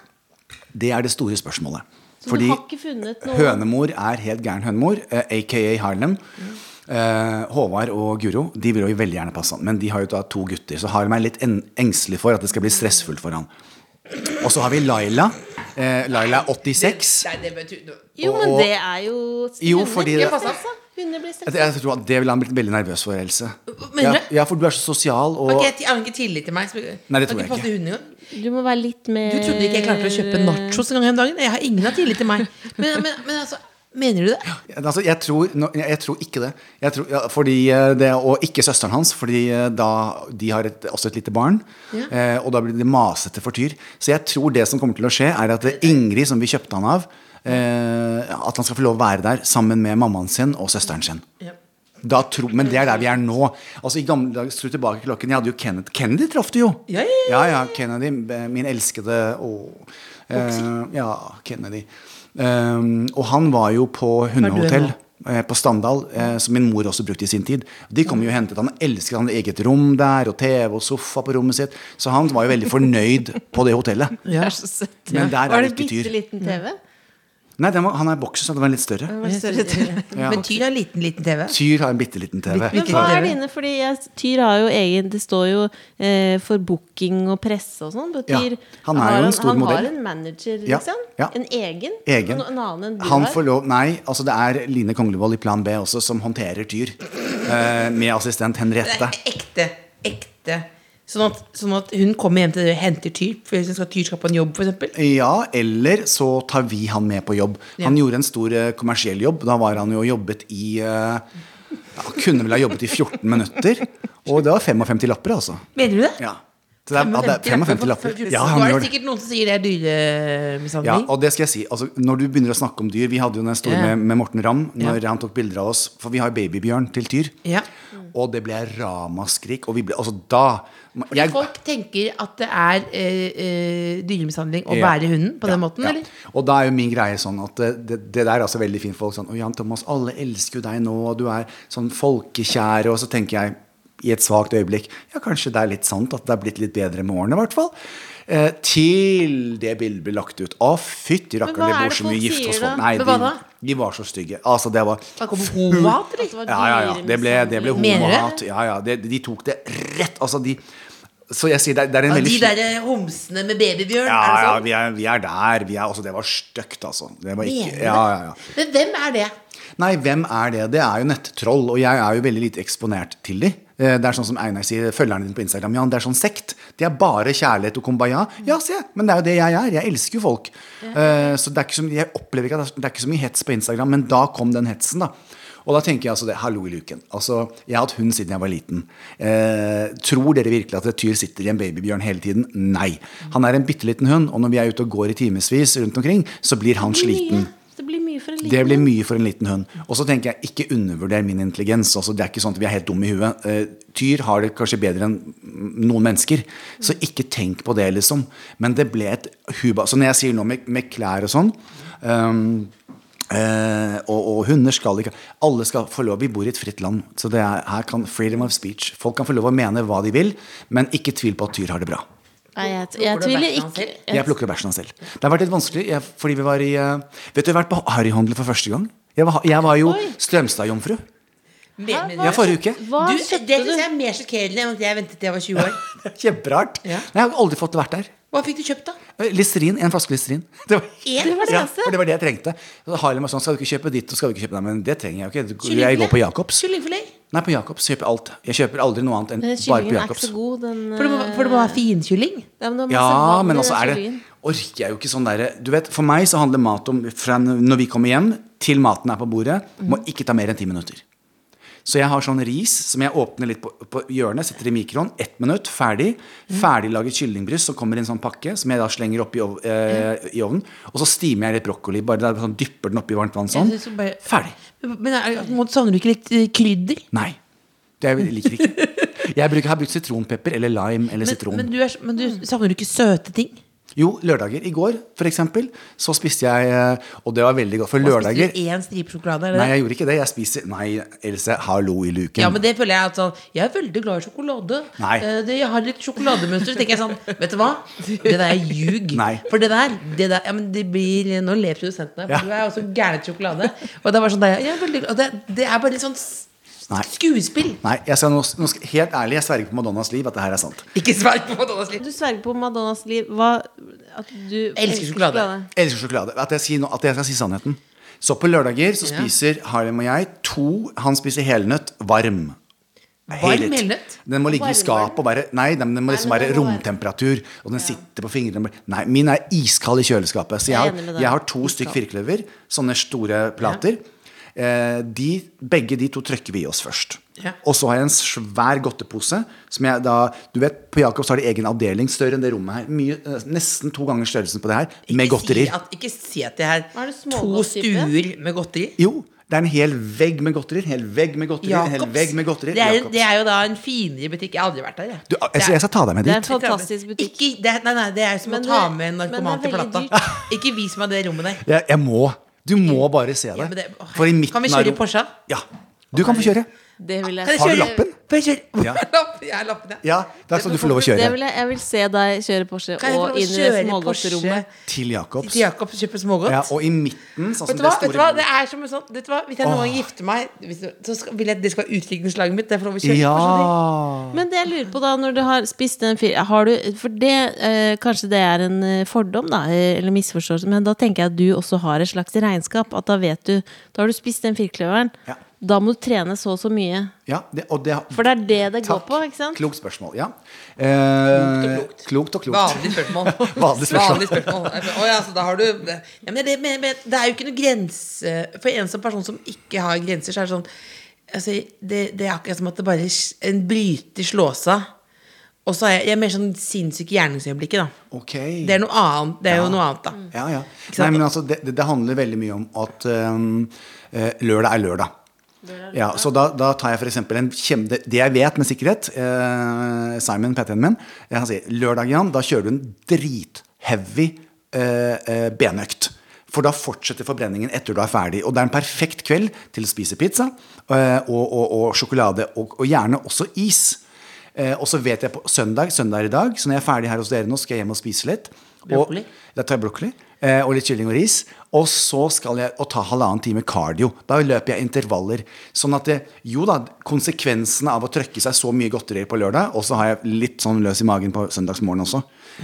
[SPEAKER 4] Det er det store spørsmålet.
[SPEAKER 5] Så du har ikke funnet noe
[SPEAKER 4] hønemor er helt gæren hønemor, eh, aka Harlem.
[SPEAKER 5] Mm.
[SPEAKER 4] Eh, Håvard og Guro de vil jo veldig gjerne passe han, men de har jo da to gutter. Så Harlem er litt en engstelig for at det skal bli stressfullt for han. Og så har vi Laila. Eh, Laila er 86.
[SPEAKER 3] Nei, det vet du-
[SPEAKER 5] Jo, men
[SPEAKER 4] og-
[SPEAKER 5] det er jo
[SPEAKER 4] Jo, fordi
[SPEAKER 5] Hunder
[SPEAKER 4] det-
[SPEAKER 5] blir stressa. Hunder blir
[SPEAKER 4] Jeg,
[SPEAKER 5] stressa.
[SPEAKER 4] jeg tror at Det ville han blitt veldig nervøs for, Else.
[SPEAKER 3] Mener
[SPEAKER 4] Ja,
[SPEAKER 3] du?
[SPEAKER 4] ja, for du er så sosial og
[SPEAKER 3] Ok, jeg har ikke tillit til meg. så-
[SPEAKER 4] Nei, det
[SPEAKER 3] Kan
[SPEAKER 4] tror jeg
[SPEAKER 3] passe
[SPEAKER 4] ikke.
[SPEAKER 3] hunden engang.
[SPEAKER 5] Du må være litt mer
[SPEAKER 3] Du trodde ikke jeg klarte å kjøpe nachos en gang om dagen? Jeg har ingen har tillit til meg. Men, men, men altså, mener du det?
[SPEAKER 4] Altså, jeg, tror, nå- jeg, jeg tror ikke det. Jeg tror, ja, fordi eh, det. Og ikke søsteren hans, fordi eh, da, de har et, også et lite barn. Eh, og da blir det masete for Tyr. Så jeg tror det som kommer til å skje, er at det er Ingrid, som vi kjøpte han av, eh, at han skal få lov å være der sammen med mammaen sin og søsteren sin.
[SPEAKER 3] Ja.
[SPEAKER 4] Da tro, men det er der vi er nå. Altså I gamle dager tror jeg tilbake klokken Jeg hadde jo Kenneth. Kennedy traff du jo.
[SPEAKER 3] Ja, ja, ja.
[SPEAKER 4] ja, Kennedy, eh, min elskede og Ja, Kennedy. Um, og han var jo på hundehotell
[SPEAKER 3] nå?
[SPEAKER 4] eh, på Standal, eh, som min mor også brukte i sin tid. De kom jo og hentet han, elsket han hadde eget rom der, og TV og sofa på rommet sitt. Så han var jo veldig fornøyd på det hotellet.
[SPEAKER 3] [LAUGHS] Ja.
[SPEAKER 4] Men der
[SPEAKER 5] Var
[SPEAKER 4] er
[SPEAKER 5] det
[SPEAKER 4] det ikke
[SPEAKER 5] bitte
[SPEAKER 4] Tyr.
[SPEAKER 5] liten TV?
[SPEAKER 4] Nei, den var, han er bokser, så den var litt større. Ja.
[SPEAKER 3] Men Tyr har liten, liten TV.
[SPEAKER 4] Tyr har en bitte liten TV.
[SPEAKER 3] Bitte
[SPEAKER 5] Men
[SPEAKER 3] liten
[SPEAKER 5] hva
[SPEAKER 3] TV.
[SPEAKER 5] er dine? Fordi jeg, Tyr har jo egen Det står jo eh, for booking og presse og sånn. men
[SPEAKER 4] Ja,
[SPEAKER 5] Tyr,
[SPEAKER 4] han er jo
[SPEAKER 5] har
[SPEAKER 4] en stor
[SPEAKER 5] han
[SPEAKER 4] modell.
[SPEAKER 5] har en manager,
[SPEAKER 4] Ja,
[SPEAKER 5] liksom.
[SPEAKER 4] ja.
[SPEAKER 5] En egen.
[SPEAKER 4] Egen.
[SPEAKER 5] En, en annen enn du
[SPEAKER 4] Han
[SPEAKER 5] har.
[SPEAKER 4] får lov, nei, altså det er Line Konglevold i Plan B også som håndterer Tyr. eh, med assistent
[SPEAKER 3] Det
[SPEAKER 4] Henriette.
[SPEAKER 3] er ekte. Ekte. Sånn at, sånn at hun kommer hjem til dere og henter Tyr. For hvis hun skal Tyr skal på en jobb, for eksempel.
[SPEAKER 4] Ja, eller så tar vi han med på jobb. Han
[SPEAKER 3] Ja.
[SPEAKER 4] gjorde en stor eh, kommersiell jobb. Da var han jo jobbet i eh, ja, Kunne vel ha jobbet i 14 minutter. Og det var 55 lapper, altså.
[SPEAKER 3] Mener du det?
[SPEAKER 4] Ja. Så det er, ja, det er 55 lapper. Ja,
[SPEAKER 3] Nå
[SPEAKER 4] han
[SPEAKER 3] er
[SPEAKER 4] gjør
[SPEAKER 3] det
[SPEAKER 4] det.
[SPEAKER 3] sikkert noen som sier det er
[SPEAKER 4] Ja,
[SPEAKER 3] dyremishandling.
[SPEAKER 4] og det skal jeg si. Altså, når du begynner å snakke om dyr Vi hadde jo den store
[SPEAKER 3] Ja.
[SPEAKER 4] med, med Morten Ramm. Når
[SPEAKER 3] Ja.
[SPEAKER 4] han tok bilder av oss For vi har babybjørn til tyr.
[SPEAKER 3] Ja.
[SPEAKER 4] Og det ble ramaskrik. Og vi ble Altså, da jeg,
[SPEAKER 3] Folk tenker at det er eh, eh, dyremishandling å
[SPEAKER 4] Ja.
[SPEAKER 3] bære hunden på den måten,
[SPEAKER 4] ja.
[SPEAKER 3] eller?
[SPEAKER 4] Og da er jo min greie sånn at det, det, det der er altså veldig fint folk sånn Å, Jan Thomas, alle elsker jo deg nå, og du er sånn folkekjær, og så tenker jeg i et svakt øyeblikk Ja, kanskje det er litt sant at det er blitt litt bedre med årene, i hvert fall. Eh, til det bildet ble lagt ut. Å, fytti
[SPEAKER 5] hva
[SPEAKER 4] rakkeren, det
[SPEAKER 5] er
[SPEAKER 4] bor
[SPEAKER 5] det
[SPEAKER 4] så
[SPEAKER 5] folk
[SPEAKER 4] mye gift
[SPEAKER 5] sier
[SPEAKER 4] hos
[SPEAKER 5] da?
[SPEAKER 4] folk. Nei,
[SPEAKER 3] Men hva
[SPEAKER 4] de,
[SPEAKER 3] da?
[SPEAKER 4] de var så stygge. Altså, det var
[SPEAKER 3] Da kommer homohat, eller?
[SPEAKER 4] ja, ja, ja. Det ble, det ble
[SPEAKER 3] Mener du?
[SPEAKER 4] homohat. Ja, ja. De, de tok det rett. Altså, de Så jeg sier, det, er- det er en
[SPEAKER 3] Ja,
[SPEAKER 4] veldig
[SPEAKER 3] de
[SPEAKER 4] sli-
[SPEAKER 3] derre homsene med babybjørn,
[SPEAKER 4] liksom- ja,
[SPEAKER 3] er det sånn?
[SPEAKER 4] ja, vi er, vi er der. Vi er, altså, det var stygt, altså. Det var ikke,
[SPEAKER 3] Mener du
[SPEAKER 4] ja, ja, ja.
[SPEAKER 3] det? Men hvem er det?
[SPEAKER 4] Nei, hvem er det? Det er jo nettroll, og jeg er jo veldig lite eksponert til de. Eh, Det er sånn som Einar sier, følgerne dine på Instagram, Jan, det er sånn sekt. Det er bare kjærlighet og kumbaya. Ja, se, men det er jo det jeg er. Jeg elsker jo folk. Eh, Så det er ikke så, jeg opplever ikke at det er ikke så mye hets på Instagram, men da kom den hetsen, da. Og da tenker jeg altså det, hallo i luken. Altså, jeg har hatt hund siden jeg var liten. Eh, tror dere virkelig at et tyr sitter i en babybjørn hele tiden? Nei. Han er en bitte liten hund, og når vi er ute og går i timevis rundt omkring, så blir han sliten.
[SPEAKER 5] Det blir mye for en liten
[SPEAKER 4] Det blir mye for en liten hund. Og så tenker jeg, ikke undervurder min intelligens. Altså, det er ikke sånn at vi er helt dumme i huet. Eh, tyr har det kanskje bedre enn noen mennesker. Så ikke tenk på det, liksom. Men det ble et huba. Så når jeg sier noe med, med klær og sånn ehm, eh, og, og hunder skal ikke Alle skal få lov. Vi bor i et fritt land. Så det er, her kan freedom of speech. Folk kan få lov å mene hva de vil, men ikke tvil på at tyr har det bra.
[SPEAKER 5] Nei, jeg, jeg,
[SPEAKER 3] Plukker du
[SPEAKER 5] tviler
[SPEAKER 3] bæsjen hans
[SPEAKER 5] ikke.
[SPEAKER 3] selv?
[SPEAKER 4] Jeg plukker bæsjen hans selv. Det har vært litt vanskelig jeg, fordi vi var i eh, Vet du, jeg har vært på harryhandel for første gang. Jeg var, jeg var jo Strømstad-jomfru.
[SPEAKER 3] Mener du?
[SPEAKER 4] Ja, forrige uke.
[SPEAKER 5] Hva
[SPEAKER 3] Du, det
[SPEAKER 5] kjøpte du?
[SPEAKER 3] syns jeg er mer sjokkerende enn at jeg ventet til jeg var 20 år.
[SPEAKER 4] Kjemperart.
[SPEAKER 3] Ja.
[SPEAKER 4] Nei, Jeg har aldri fått vært der.
[SPEAKER 3] Hva fikk du kjøpt, da?
[SPEAKER 4] Eh, Listerin, En flaske Listerin. [LAUGHS] Det var,
[SPEAKER 3] En
[SPEAKER 5] var det
[SPEAKER 4] ja,
[SPEAKER 5] beste.
[SPEAKER 4] for det var det jeg trengte. Så Harlem var sånn, skal du ikke kjøpe ditt, og skal du ikke kjøpe Nei, men det trenger jeg jo ikke. Du- Jeg går på Jacobs.
[SPEAKER 3] Kyllingfilet.
[SPEAKER 4] Nei, på Jacobs kjøper jeg alt. Jeg kjøper aldri noe annet enn
[SPEAKER 5] Den
[SPEAKER 4] bare på
[SPEAKER 5] Eh, kyllingen er ikke
[SPEAKER 4] Jacobs.
[SPEAKER 5] så god, den eh,
[SPEAKER 3] For det må, for det må være finkylling.
[SPEAKER 5] Ja, men, det var masse
[SPEAKER 4] Ja,
[SPEAKER 5] vann i
[SPEAKER 4] men
[SPEAKER 5] den
[SPEAKER 4] altså er det
[SPEAKER 5] kyllingen.
[SPEAKER 4] Orker jeg jo ikke sånn derre Du vet, for meg så handler mat om fra når vi kommer hjem, til maten er på bordet,
[SPEAKER 3] Mm.
[SPEAKER 4] må ikke ta mer enn ti minutter. Så jeg har sånn ris som jeg åpner litt på, på hjørnet, setter i mikroen. Ett minutt, ferdig.
[SPEAKER 3] Mm.
[SPEAKER 4] Ferdiglaget kyllingbryst som kommer i en sånn pakke som jeg da slenger oppi ov eh, i ovnen. Og så stimer jeg litt brokkoli. Bare der, sånn, Dypper den oppi varmt vann sånn.
[SPEAKER 3] Jeg synes jo bare-
[SPEAKER 4] Ferdig.
[SPEAKER 3] Men er- må- savner du ikke litt eh, krydder?
[SPEAKER 4] Nei. Det jeg liker ikke.
[SPEAKER 3] [LAUGHS]
[SPEAKER 4] Jeg bruker, har brukt sitronpepper eller lime eller
[SPEAKER 3] Men,
[SPEAKER 4] sitron.
[SPEAKER 3] men, du er, men du savner du ikke søte ting?
[SPEAKER 4] Jo, lørdager. I går, for eksempel, så spiste jeg eh, Og det var veldig godt. For lørdager
[SPEAKER 3] Spiste du én stripe sjokolade?
[SPEAKER 4] Nei,
[SPEAKER 3] Eller?
[SPEAKER 4] jeg gjorde ikke det. Jeg spiser Nei, Else, hallo i luken.
[SPEAKER 3] Ja, men det føler Jeg at sånn Jeg er veldig glad i sjokolade.
[SPEAKER 4] Mm. Nei.
[SPEAKER 3] Eh, det, jeg har litt sjokolademønster. Så tenker jeg sånn Vet du hva? Det der er ljug.
[SPEAKER 4] Nei.
[SPEAKER 3] For det der, det der ja, men det blir, Nå ler produsenten her, for
[SPEAKER 4] Ja.
[SPEAKER 3] du er også gæren til sjokolade. Og det er bare sånn der, jeg er veldig, glad- og det, det er bare litt sånn s-
[SPEAKER 4] Nei.
[SPEAKER 3] skuespill.
[SPEAKER 4] Nei, jeg skal nå, nå skal, helt ærlig, jeg sverger på Madonnas liv at det her er sant.
[SPEAKER 3] Ikke svar på Madonnas liv.
[SPEAKER 5] Du sverger på Madonnas liv. Hva At du
[SPEAKER 3] sjokolade.
[SPEAKER 4] Jeg elsker sjokolade. At jeg, sier nå, at jeg skal si sannheten. Så på lørdager så spiser Harlem og jeg to Han spiser helnøtt varm. Helnøtt.
[SPEAKER 3] helnøtt?
[SPEAKER 4] Den må ligge i
[SPEAKER 5] Varm,
[SPEAKER 4] skapet og være Nei, den, den må liksom
[SPEAKER 5] men
[SPEAKER 4] være
[SPEAKER 5] den må være-
[SPEAKER 4] romtemperatur. Og den sitter på fingrene Nei, min er iskald i kjøleskapet. Så
[SPEAKER 5] Jeg
[SPEAKER 4] jeg
[SPEAKER 5] er
[SPEAKER 4] har,
[SPEAKER 5] enig med deg.
[SPEAKER 4] jeg har to stykk firkløver. Sånne store plater. Eh, de, begge de to trykker vi i oss først.
[SPEAKER 3] Ja.
[SPEAKER 4] Og så har jeg en svær godtepose. Som jeg da, du vet, På Jacobs har de egen avdeling større enn det rommet her. Mye, eh, nesten to ganger størrelsen på det her. med godterier.
[SPEAKER 3] Si at, ikke si at det er
[SPEAKER 5] Hva er det,
[SPEAKER 3] to
[SPEAKER 5] smågodttype?
[SPEAKER 3] stuer med godteri.
[SPEAKER 4] Jo, det er en hel vegg med godterier. En hel vegg med godterier. En hel vegg med godterier.
[SPEAKER 3] Det, er,
[SPEAKER 4] Jacobs.
[SPEAKER 3] det er jo da en finere butikk. Jeg har aldri vært der. Jeg.
[SPEAKER 4] Du, altså, jeg skal ta deg med
[SPEAKER 5] Det er
[SPEAKER 4] dit.
[SPEAKER 5] en fantastisk butikk.
[SPEAKER 3] Ikke, det, er- nei, nei, det er jo som
[SPEAKER 5] Men
[SPEAKER 3] å ta
[SPEAKER 5] det-
[SPEAKER 3] med en narkoman
[SPEAKER 5] men det
[SPEAKER 3] til
[SPEAKER 5] er veldig
[SPEAKER 3] plata. Ikke vis meg det rommet der.
[SPEAKER 4] Jeg, jeg må. Du må bare se
[SPEAKER 3] men
[SPEAKER 4] det.
[SPEAKER 3] det- å,
[SPEAKER 4] For i
[SPEAKER 3] hei.
[SPEAKER 4] midten
[SPEAKER 3] Kan vi
[SPEAKER 4] av
[SPEAKER 3] kjøre i
[SPEAKER 4] rom-
[SPEAKER 3] Porsche?
[SPEAKER 4] Ja. Du kan få kjøre.
[SPEAKER 5] Det vil jeg
[SPEAKER 3] Kan jeg
[SPEAKER 5] se.
[SPEAKER 4] Har du
[SPEAKER 3] kjøre-
[SPEAKER 4] lappen?
[SPEAKER 3] Kan jeg kjøre?
[SPEAKER 4] Ja.
[SPEAKER 3] Lapp, jeg har lappen, ja.
[SPEAKER 4] Ja, det er sånn du får lov å
[SPEAKER 5] Det
[SPEAKER 4] kjøre.
[SPEAKER 5] vil jeg, jeg vil se deg kjøre Porsche
[SPEAKER 3] Kan jeg få
[SPEAKER 5] og
[SPEAKER 3] lov å
[SPEAKER 5] inn i det
[SPEAKER 3] kjøre Porsche
[SPEAKER 5] smågodterommet.
[SPEAKER 4] Til Jacobs.
[SPEAKER 3] til Jakob og kjøpe smågodt?
[SPEAKER 4] Ja, og i midten, sånn som
[SPEAKER 3] Vet du, hva?
[SPEAKER 4] det
[SPEAKER 3] vet du hva, det
[SPEAKER 4] store
[SPEAKER 3] er som en sånn Vet du hva, Hvis jeg noen gang gifter meg, hvis, så skal, vil jeg det skal være utviklingslaget mitt. Det er for lov å kjøre Porsche.
[SPEAKER 4] Ja.
[SPEAKER 5] Men det jeg lurer på da, når du har spist den fire Har du For det eh, Kanskje det er en eh, fordom, da, eh, eller misforståelse, men da tenker jeg at du også har et slags regnskap. At da vet du Da har du spist den firkløveren.
[SPEAKER 4] Ja.
[SPEAKER 5] Da må du trene så og så mye.
[SPEAKER 4] ja det, og det,
[SPEAKER 5] For det er det det går
[SPEAKER 4] Takk.
[SPEAKER 5] på, ikke sant?
[SPEAKER 4] Klokt spørsmål. Ja. Eh,
[SPEAKER 3] Klokt og klokt.
[SPEAKER 4] klokt og klokt.
[SPEAKER 3] Vanlig spørsmål.
[SPEAKER 4] [LAUGHS] Vanlig spørsmål.
[SPEAKER 3] Vanlig spørsmål. Å ja, så da har du ja, men det, men, men, det er jo ikke noe grense For en som person som ikke har grenser, så er det sånn altså, det, det er akkurat som at det bare s- en bryter slås av. Og så er jeg, jeg er mer sånn sinnssyke gjerningsøyeblikket, da.
[SPEAKER 4] Ok.
[SPEAKER 3] Det er, noe annet, det er jo noe annet, da.
[SPEAKER 4] Ja, Mm. ja.
[SPEAKER 3] Mm. Ikke sant?
[SPEAKER 4] Nei, men altså, det, det- det handler veldig mye om at øhm, eh, lørdag er lørdag. Ja, så da, da tar jeg for eksempel en kjem, det, det jeg vet med sikkerhet, eh, Simon, PT-en min, eh, han sier lørdag Jan, da kjører du en dritheavy eh, eh, benøkt. For da fortsetter forbrenningen etter du er ferdig. Og det er en perfekt kveld til å spise pizza eh, og, og, og sjokolade, og, og gjerne også is. Eh, og så vet jeg på søndag, søndag er i dag, så når jeg er ferdig her hos dere nå, skal jeg hjem og spise litt.
[SPEAKER 3] Broccoli.
[SPEAKER 4] Og, da tar jeg broccoli eh, og litt kylling og ris. Og så skal jeg og ta halvannen time cardio. Da løper jeg intervaller. Sånn at det, jo da, konsekvensene av å trøkke seg så mye godterier på lørdag, og så har jeg litt sånn løs i magen på søndagsmorgen også.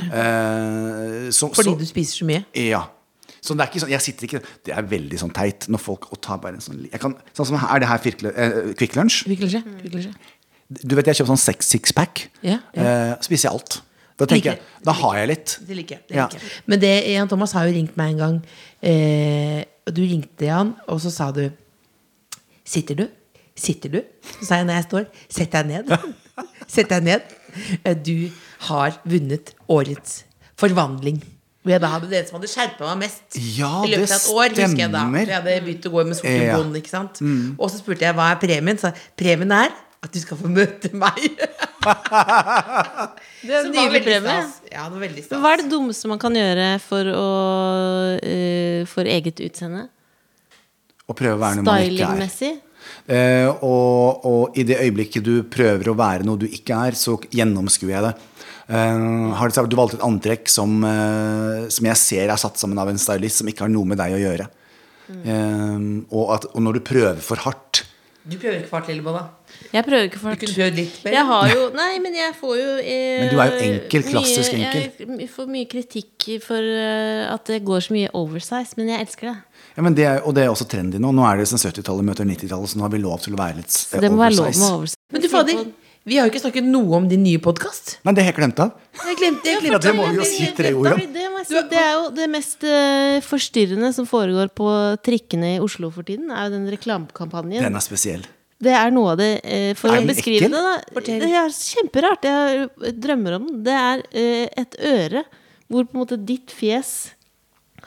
[SPEAKER 4] Eh, så,
[SPEAKER 3] Fordi
[SPEAKER 4] så,
[SPEAKER 3] du spiser så mye.
[SPEAKER 4] ja. Så det er ikke sånn, jeg sitter ikke Det er veldig sånn teit når folk og tar bare en sånn jeg kan, Sånn som her, er det her firkle, eh, Kvikk Lunsj.
[SPEAKER 3] Virkelig ikke. Virkelig ikke.
[SPEAKER 4] Du vet jeg kjøper sånn seks sixpack.
[SPEAKER 3] Ja, ja.
[SPEAKER 4] Eh, spiser jeg alt. Da tenker
[SPEAKER 3] Liker.
[SPEAKER 4] jeg Da har jeg litt.
[SPEAKER 3] Det liker jeg. Det
[SPEAKER 4] Ja.
[SPEAKER 3] liker jeg. Men det, Jan Thomas har jo ringt meg en gang. Eh, og du ringte han, og så sa du Sitter du? Sitter du? Så sa jeg når jeg står, sett deg ned. [LAUGHS] Sett deg ned. Eh, Du har vunnet årets forvandling. Og jeg da hadde den som hadde skjerpa meg mest
[SPEAKER 4] Ja,
[SPEAKER 3] i løpet
[SPEAKER 4] det
[SPEAKER 3] av et år. husker jeg da.
[SPEAKER 4] stemmer.
[SPEAKER 3] For Jeg hadde begynt å gå med sorte
[SPEAKER 4] Ja. Mm.
[SPEAKER 3] bånd. ikke sant? Og så spurte jeg hva er premien. Så sa jeg, premien er at du skal få møte meg. [LAUGHS]
[SPEAKER 4] [LAUGHS]
[SPEAKER 5] Det er en
[SPEAKER 3] Som var
[SPEAKER 5] nydelig
[SPEAKER 3] veldig
[SPEAKER 5] premie.
[SPEAKER 3] stas. Ja, det var veldig
[SPEAKER 5] Men
[SPEAKER 3] stas.
[SPEAKER 5] Hva er det dummeste man kan gjøre for, å, eh, for eget utseende?
[SPEAKER 4] Å prøve å være noe man ikke er.
[SPEAKER 5] Stylingmessig?
[SPEAKER 4] Eh, og, og i det øyeblikket du prøver å være noe du ikke er, så gjennomskuer jeg det. Eh, har det sagt, du valgte et antrekk som, eh, som jeg ser er satt sammen av en stylist som ikke har noe med deg å gjøre. Eh, og, at, og når du prøver for hardt
[SPEAKER 3] Du prøver ikke fart, Lillebolla.
[SPEAKER 5] Jeg prøver ikke
[SPEAKER 3] Du
[SPEAKER 5] for hardt.
[SPEAKER 3] kunne prøvd litt mer.
[SPEAKER 5] Jeg har jo Nei, men jeg får jo eh,
[SPEAKER 4] Men du er jo enkel, klassisk
[SPEAKER 5] mye, Jeg får mye kritikk for eh, at det går så mye oversize, men jeg elsker det.
[SPEAKER 4] ja, men det er, Og det er også trendy nå. Nå er det som 70-tallet møter 90-tallet, så nå har vi lov til å være litt eh,
[SPEAKER 5] Så det må være lov med
[SPEAKER 4] oversize.
[SPEAKER 5] oversize.
[SPEAKER 3] Men du, fader, vi har jo ikke snakket noe om din nye podkast.
[SPEAKER 4] Nei, det har jeg glemt av.
[SPEAKER 3] Jeg glemte, jeg
[SPEAKER 4] Ja,
[SPEAKER 3] glemte.
[SPEAKER 4] det må vi jo si tre ord om.
[SPEAKER 5] Det, må jeg si. det er jo det mest eh, forstyrrende som foregår på trikkene i Oslo for tiden, er jo den reklamekampanjen.
[SPEAKER 4] Den er spesiell.
[SPEAKER 5] Det er noe av det eh, For
[SPEAKER 4] Er
[SPEAKER 5] å
[SPEAKER 4] den
[SPEAKER 5] beskrive
[SPEAKER 4] ekkel?
[SPEAKER 5] det, da.
[SPEAKER 3] Fortell.
[SPEAKER 5] Det er kjemperart. Jeg eh, drømmer om den. Det er eh, et øre hvor på en måte ditt fjes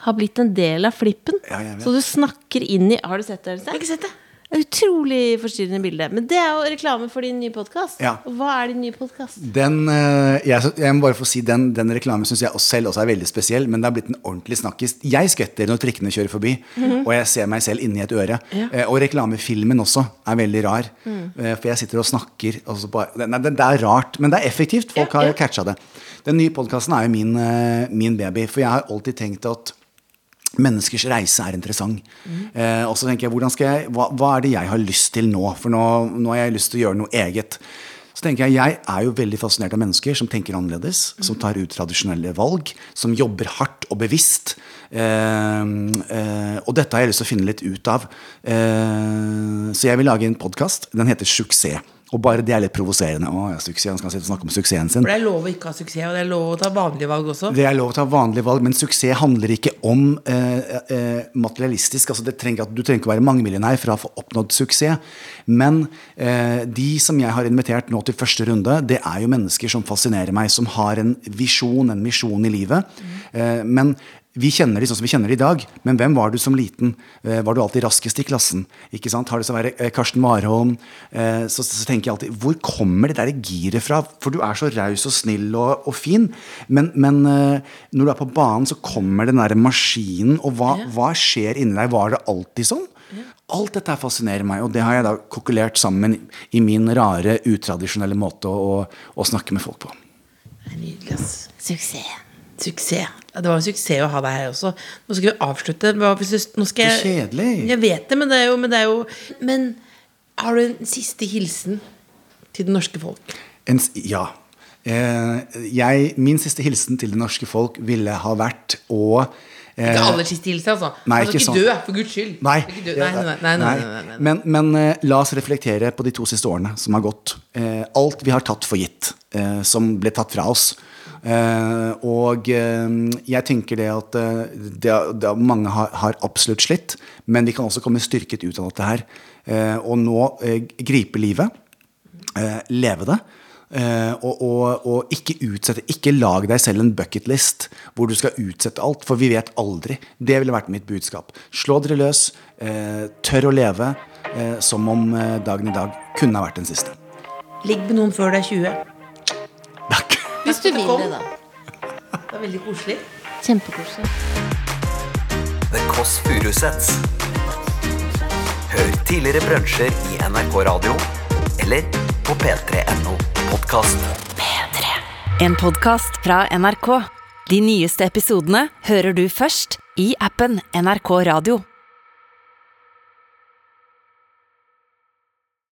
[SPEAKER 5] har blitt en del av flippen.
[SPEAKER 4] Ja, jeg vet.
[SPEAKER 5] så du snakker inn i Har du sett det? Øystein?
[SPEAKER 3] har ikke sett det.
[SPEAKER 5] Det er Utrolig forstyrrende bilde. Men det er jo reklame for din nye podkast.
[SPEAKER 4] Ja.
[SPEAKER 5] Og hva er din nye podkast?
[SPEAKER 4] Den, eh, jeg, sy- jeg må bare få si den, den reklamen syns jeg også selv også er veldig spesiell, men det har blitt en ordentlig snakkis. Jeg skvetter når trikkene kjører forbi, og jeg ser meg selv inni et øre. Eh, og reklamefilmen også er veldig rar, eh, for jeg sitter og snakker og så bare, nei, det, det er rart, men det er effektivt. Folk har catcha det. Den nye podkasten er jo min, eh, min baby, for jeg har alltid tenkt at Menneskers reise er interessant. Eh, og så tenker jeg, hvordan skal jeg hva, hva er det jeg har lyst til nå? For nå, nå har jeg lyst til å gjøre noe eget. Så tenker Jeg jeg er jo veldig fascinert av mennesker som tenker annerledes. Som tar ut tradisjonelle valg. Som jobber hardt og bevisst. Eh, eh, og dette har jeg lyst til å finne litt ut av. Eh, så jeg vil lage en podkast. Den heter Suksess. Og bare det er litt provoserende. Å, ja, suksess, han skal sitte og snakke om suksessen sin.
[SPEAKER 3] For det er lov å ikke ha suksess, og det er lov å ta vanlige valg også.
[SPEAKER 4] Det er lov å ta vanlige valg, men suksess handler ikke om eh, eh, materialistisk. Altså, det trenger, ikke at- du trenger ikke å være mangemillionær for å få oppnådd suksess. Men eh, de som jeg har invitert nå til første runde, det er jo mennesker som fascinerer meg, som har en visjon, en misjon i livet. Eh, men vi kjenner de sånn som vi kjenner de i dag, men hvem var du som liten? Eh, Var du alltid raskest i klassen? Ikke sant? Har det så være eh, Karsten Warholm? Eh, Så, så tenker jeg alltid, hvor kommer det der giret fra? For du er så raus og snill og, og fin, men, men eh, når du er på banen, så kommer den der maskinen, og hva, hva skjer inni deg? Var det alltid sånn? Alt dette her fascinerer meg, og det har jeg da kokkelert sammen i min rare, utradisjonelle måte å, å snakke med folk på.
[SPEAKER 3] Det er nydelig, ass.
[SPEAKER 5] Suksess.
[SPEAKER 3] Suksess. Ja, det var en suksess å ha deg her også. Nå skal vi avslutte. Hva hvis du- Nå skal jeg,
[SPEAKER 4] Så kjedelig.
[SPEAKER 3] Jeg vet det, men det er jo Men, det er jo, men har du en siste hilsen til det norske folk?
[SPEAKER 4] En, s- ja. Eh, jeg, min siste hilsen til det norske folk ville ha vært å eh,
[SPEAKER 3] Ikke aller siste hilsen, altså.
[SPEAKER 4] Nei,
[SPEAKER 3] altså,
[SPEAKER 4] ikke
[SPEAKER 3] ikke
[SPEAKER 4] sånn.
[SPEAKER 3] dø, for guds skyld.
[SPEAKER 4] Nei,
[SPEAKER 3] Ikke dø. Nei, nei, nei, nei, nei, nei, nei, nei.
[SPEAKER 4] Men, men eh, la oss reflektere på de to siste årene som har gått. Eh, alt vi har tatt for gitt, eh, som ble tatt fra oss. Eh, og eh, jeg tenker det at eh, det, det, mange har, har absolutt slitt, men vi kan også komme styrket ut av dette her. Eh, og nå eh, gripe livet, eh, leve det. Eh, og, og, og ikke utsette. Ikke lag deg selv en bucketlist hvor du skal utsette alt, for vi vet aldri. Det ville vært mitt budskap. Slå dere løs. Eh, tør å leve eh, som om eh, dagen i dag kunne ha vært den siste.
[SPEAKER 3] Ligg med noen før du er 20.
[SPEAKER 4] Takk.
[SPEAKER 5] Hvis du vil det, da.
[SPEAKER 3] Det er veldig koselig.
[SPEAKER 5] Kjempekoselig.
[SPEAKER 2] The Kåss Furuseths. Hør tidligere brunsjer i NRK Radio eller på p3.no podkast.
[SPEAKER 1] En podkast fra NRK. De nyeste episodene hører du først i appen NRK Radio.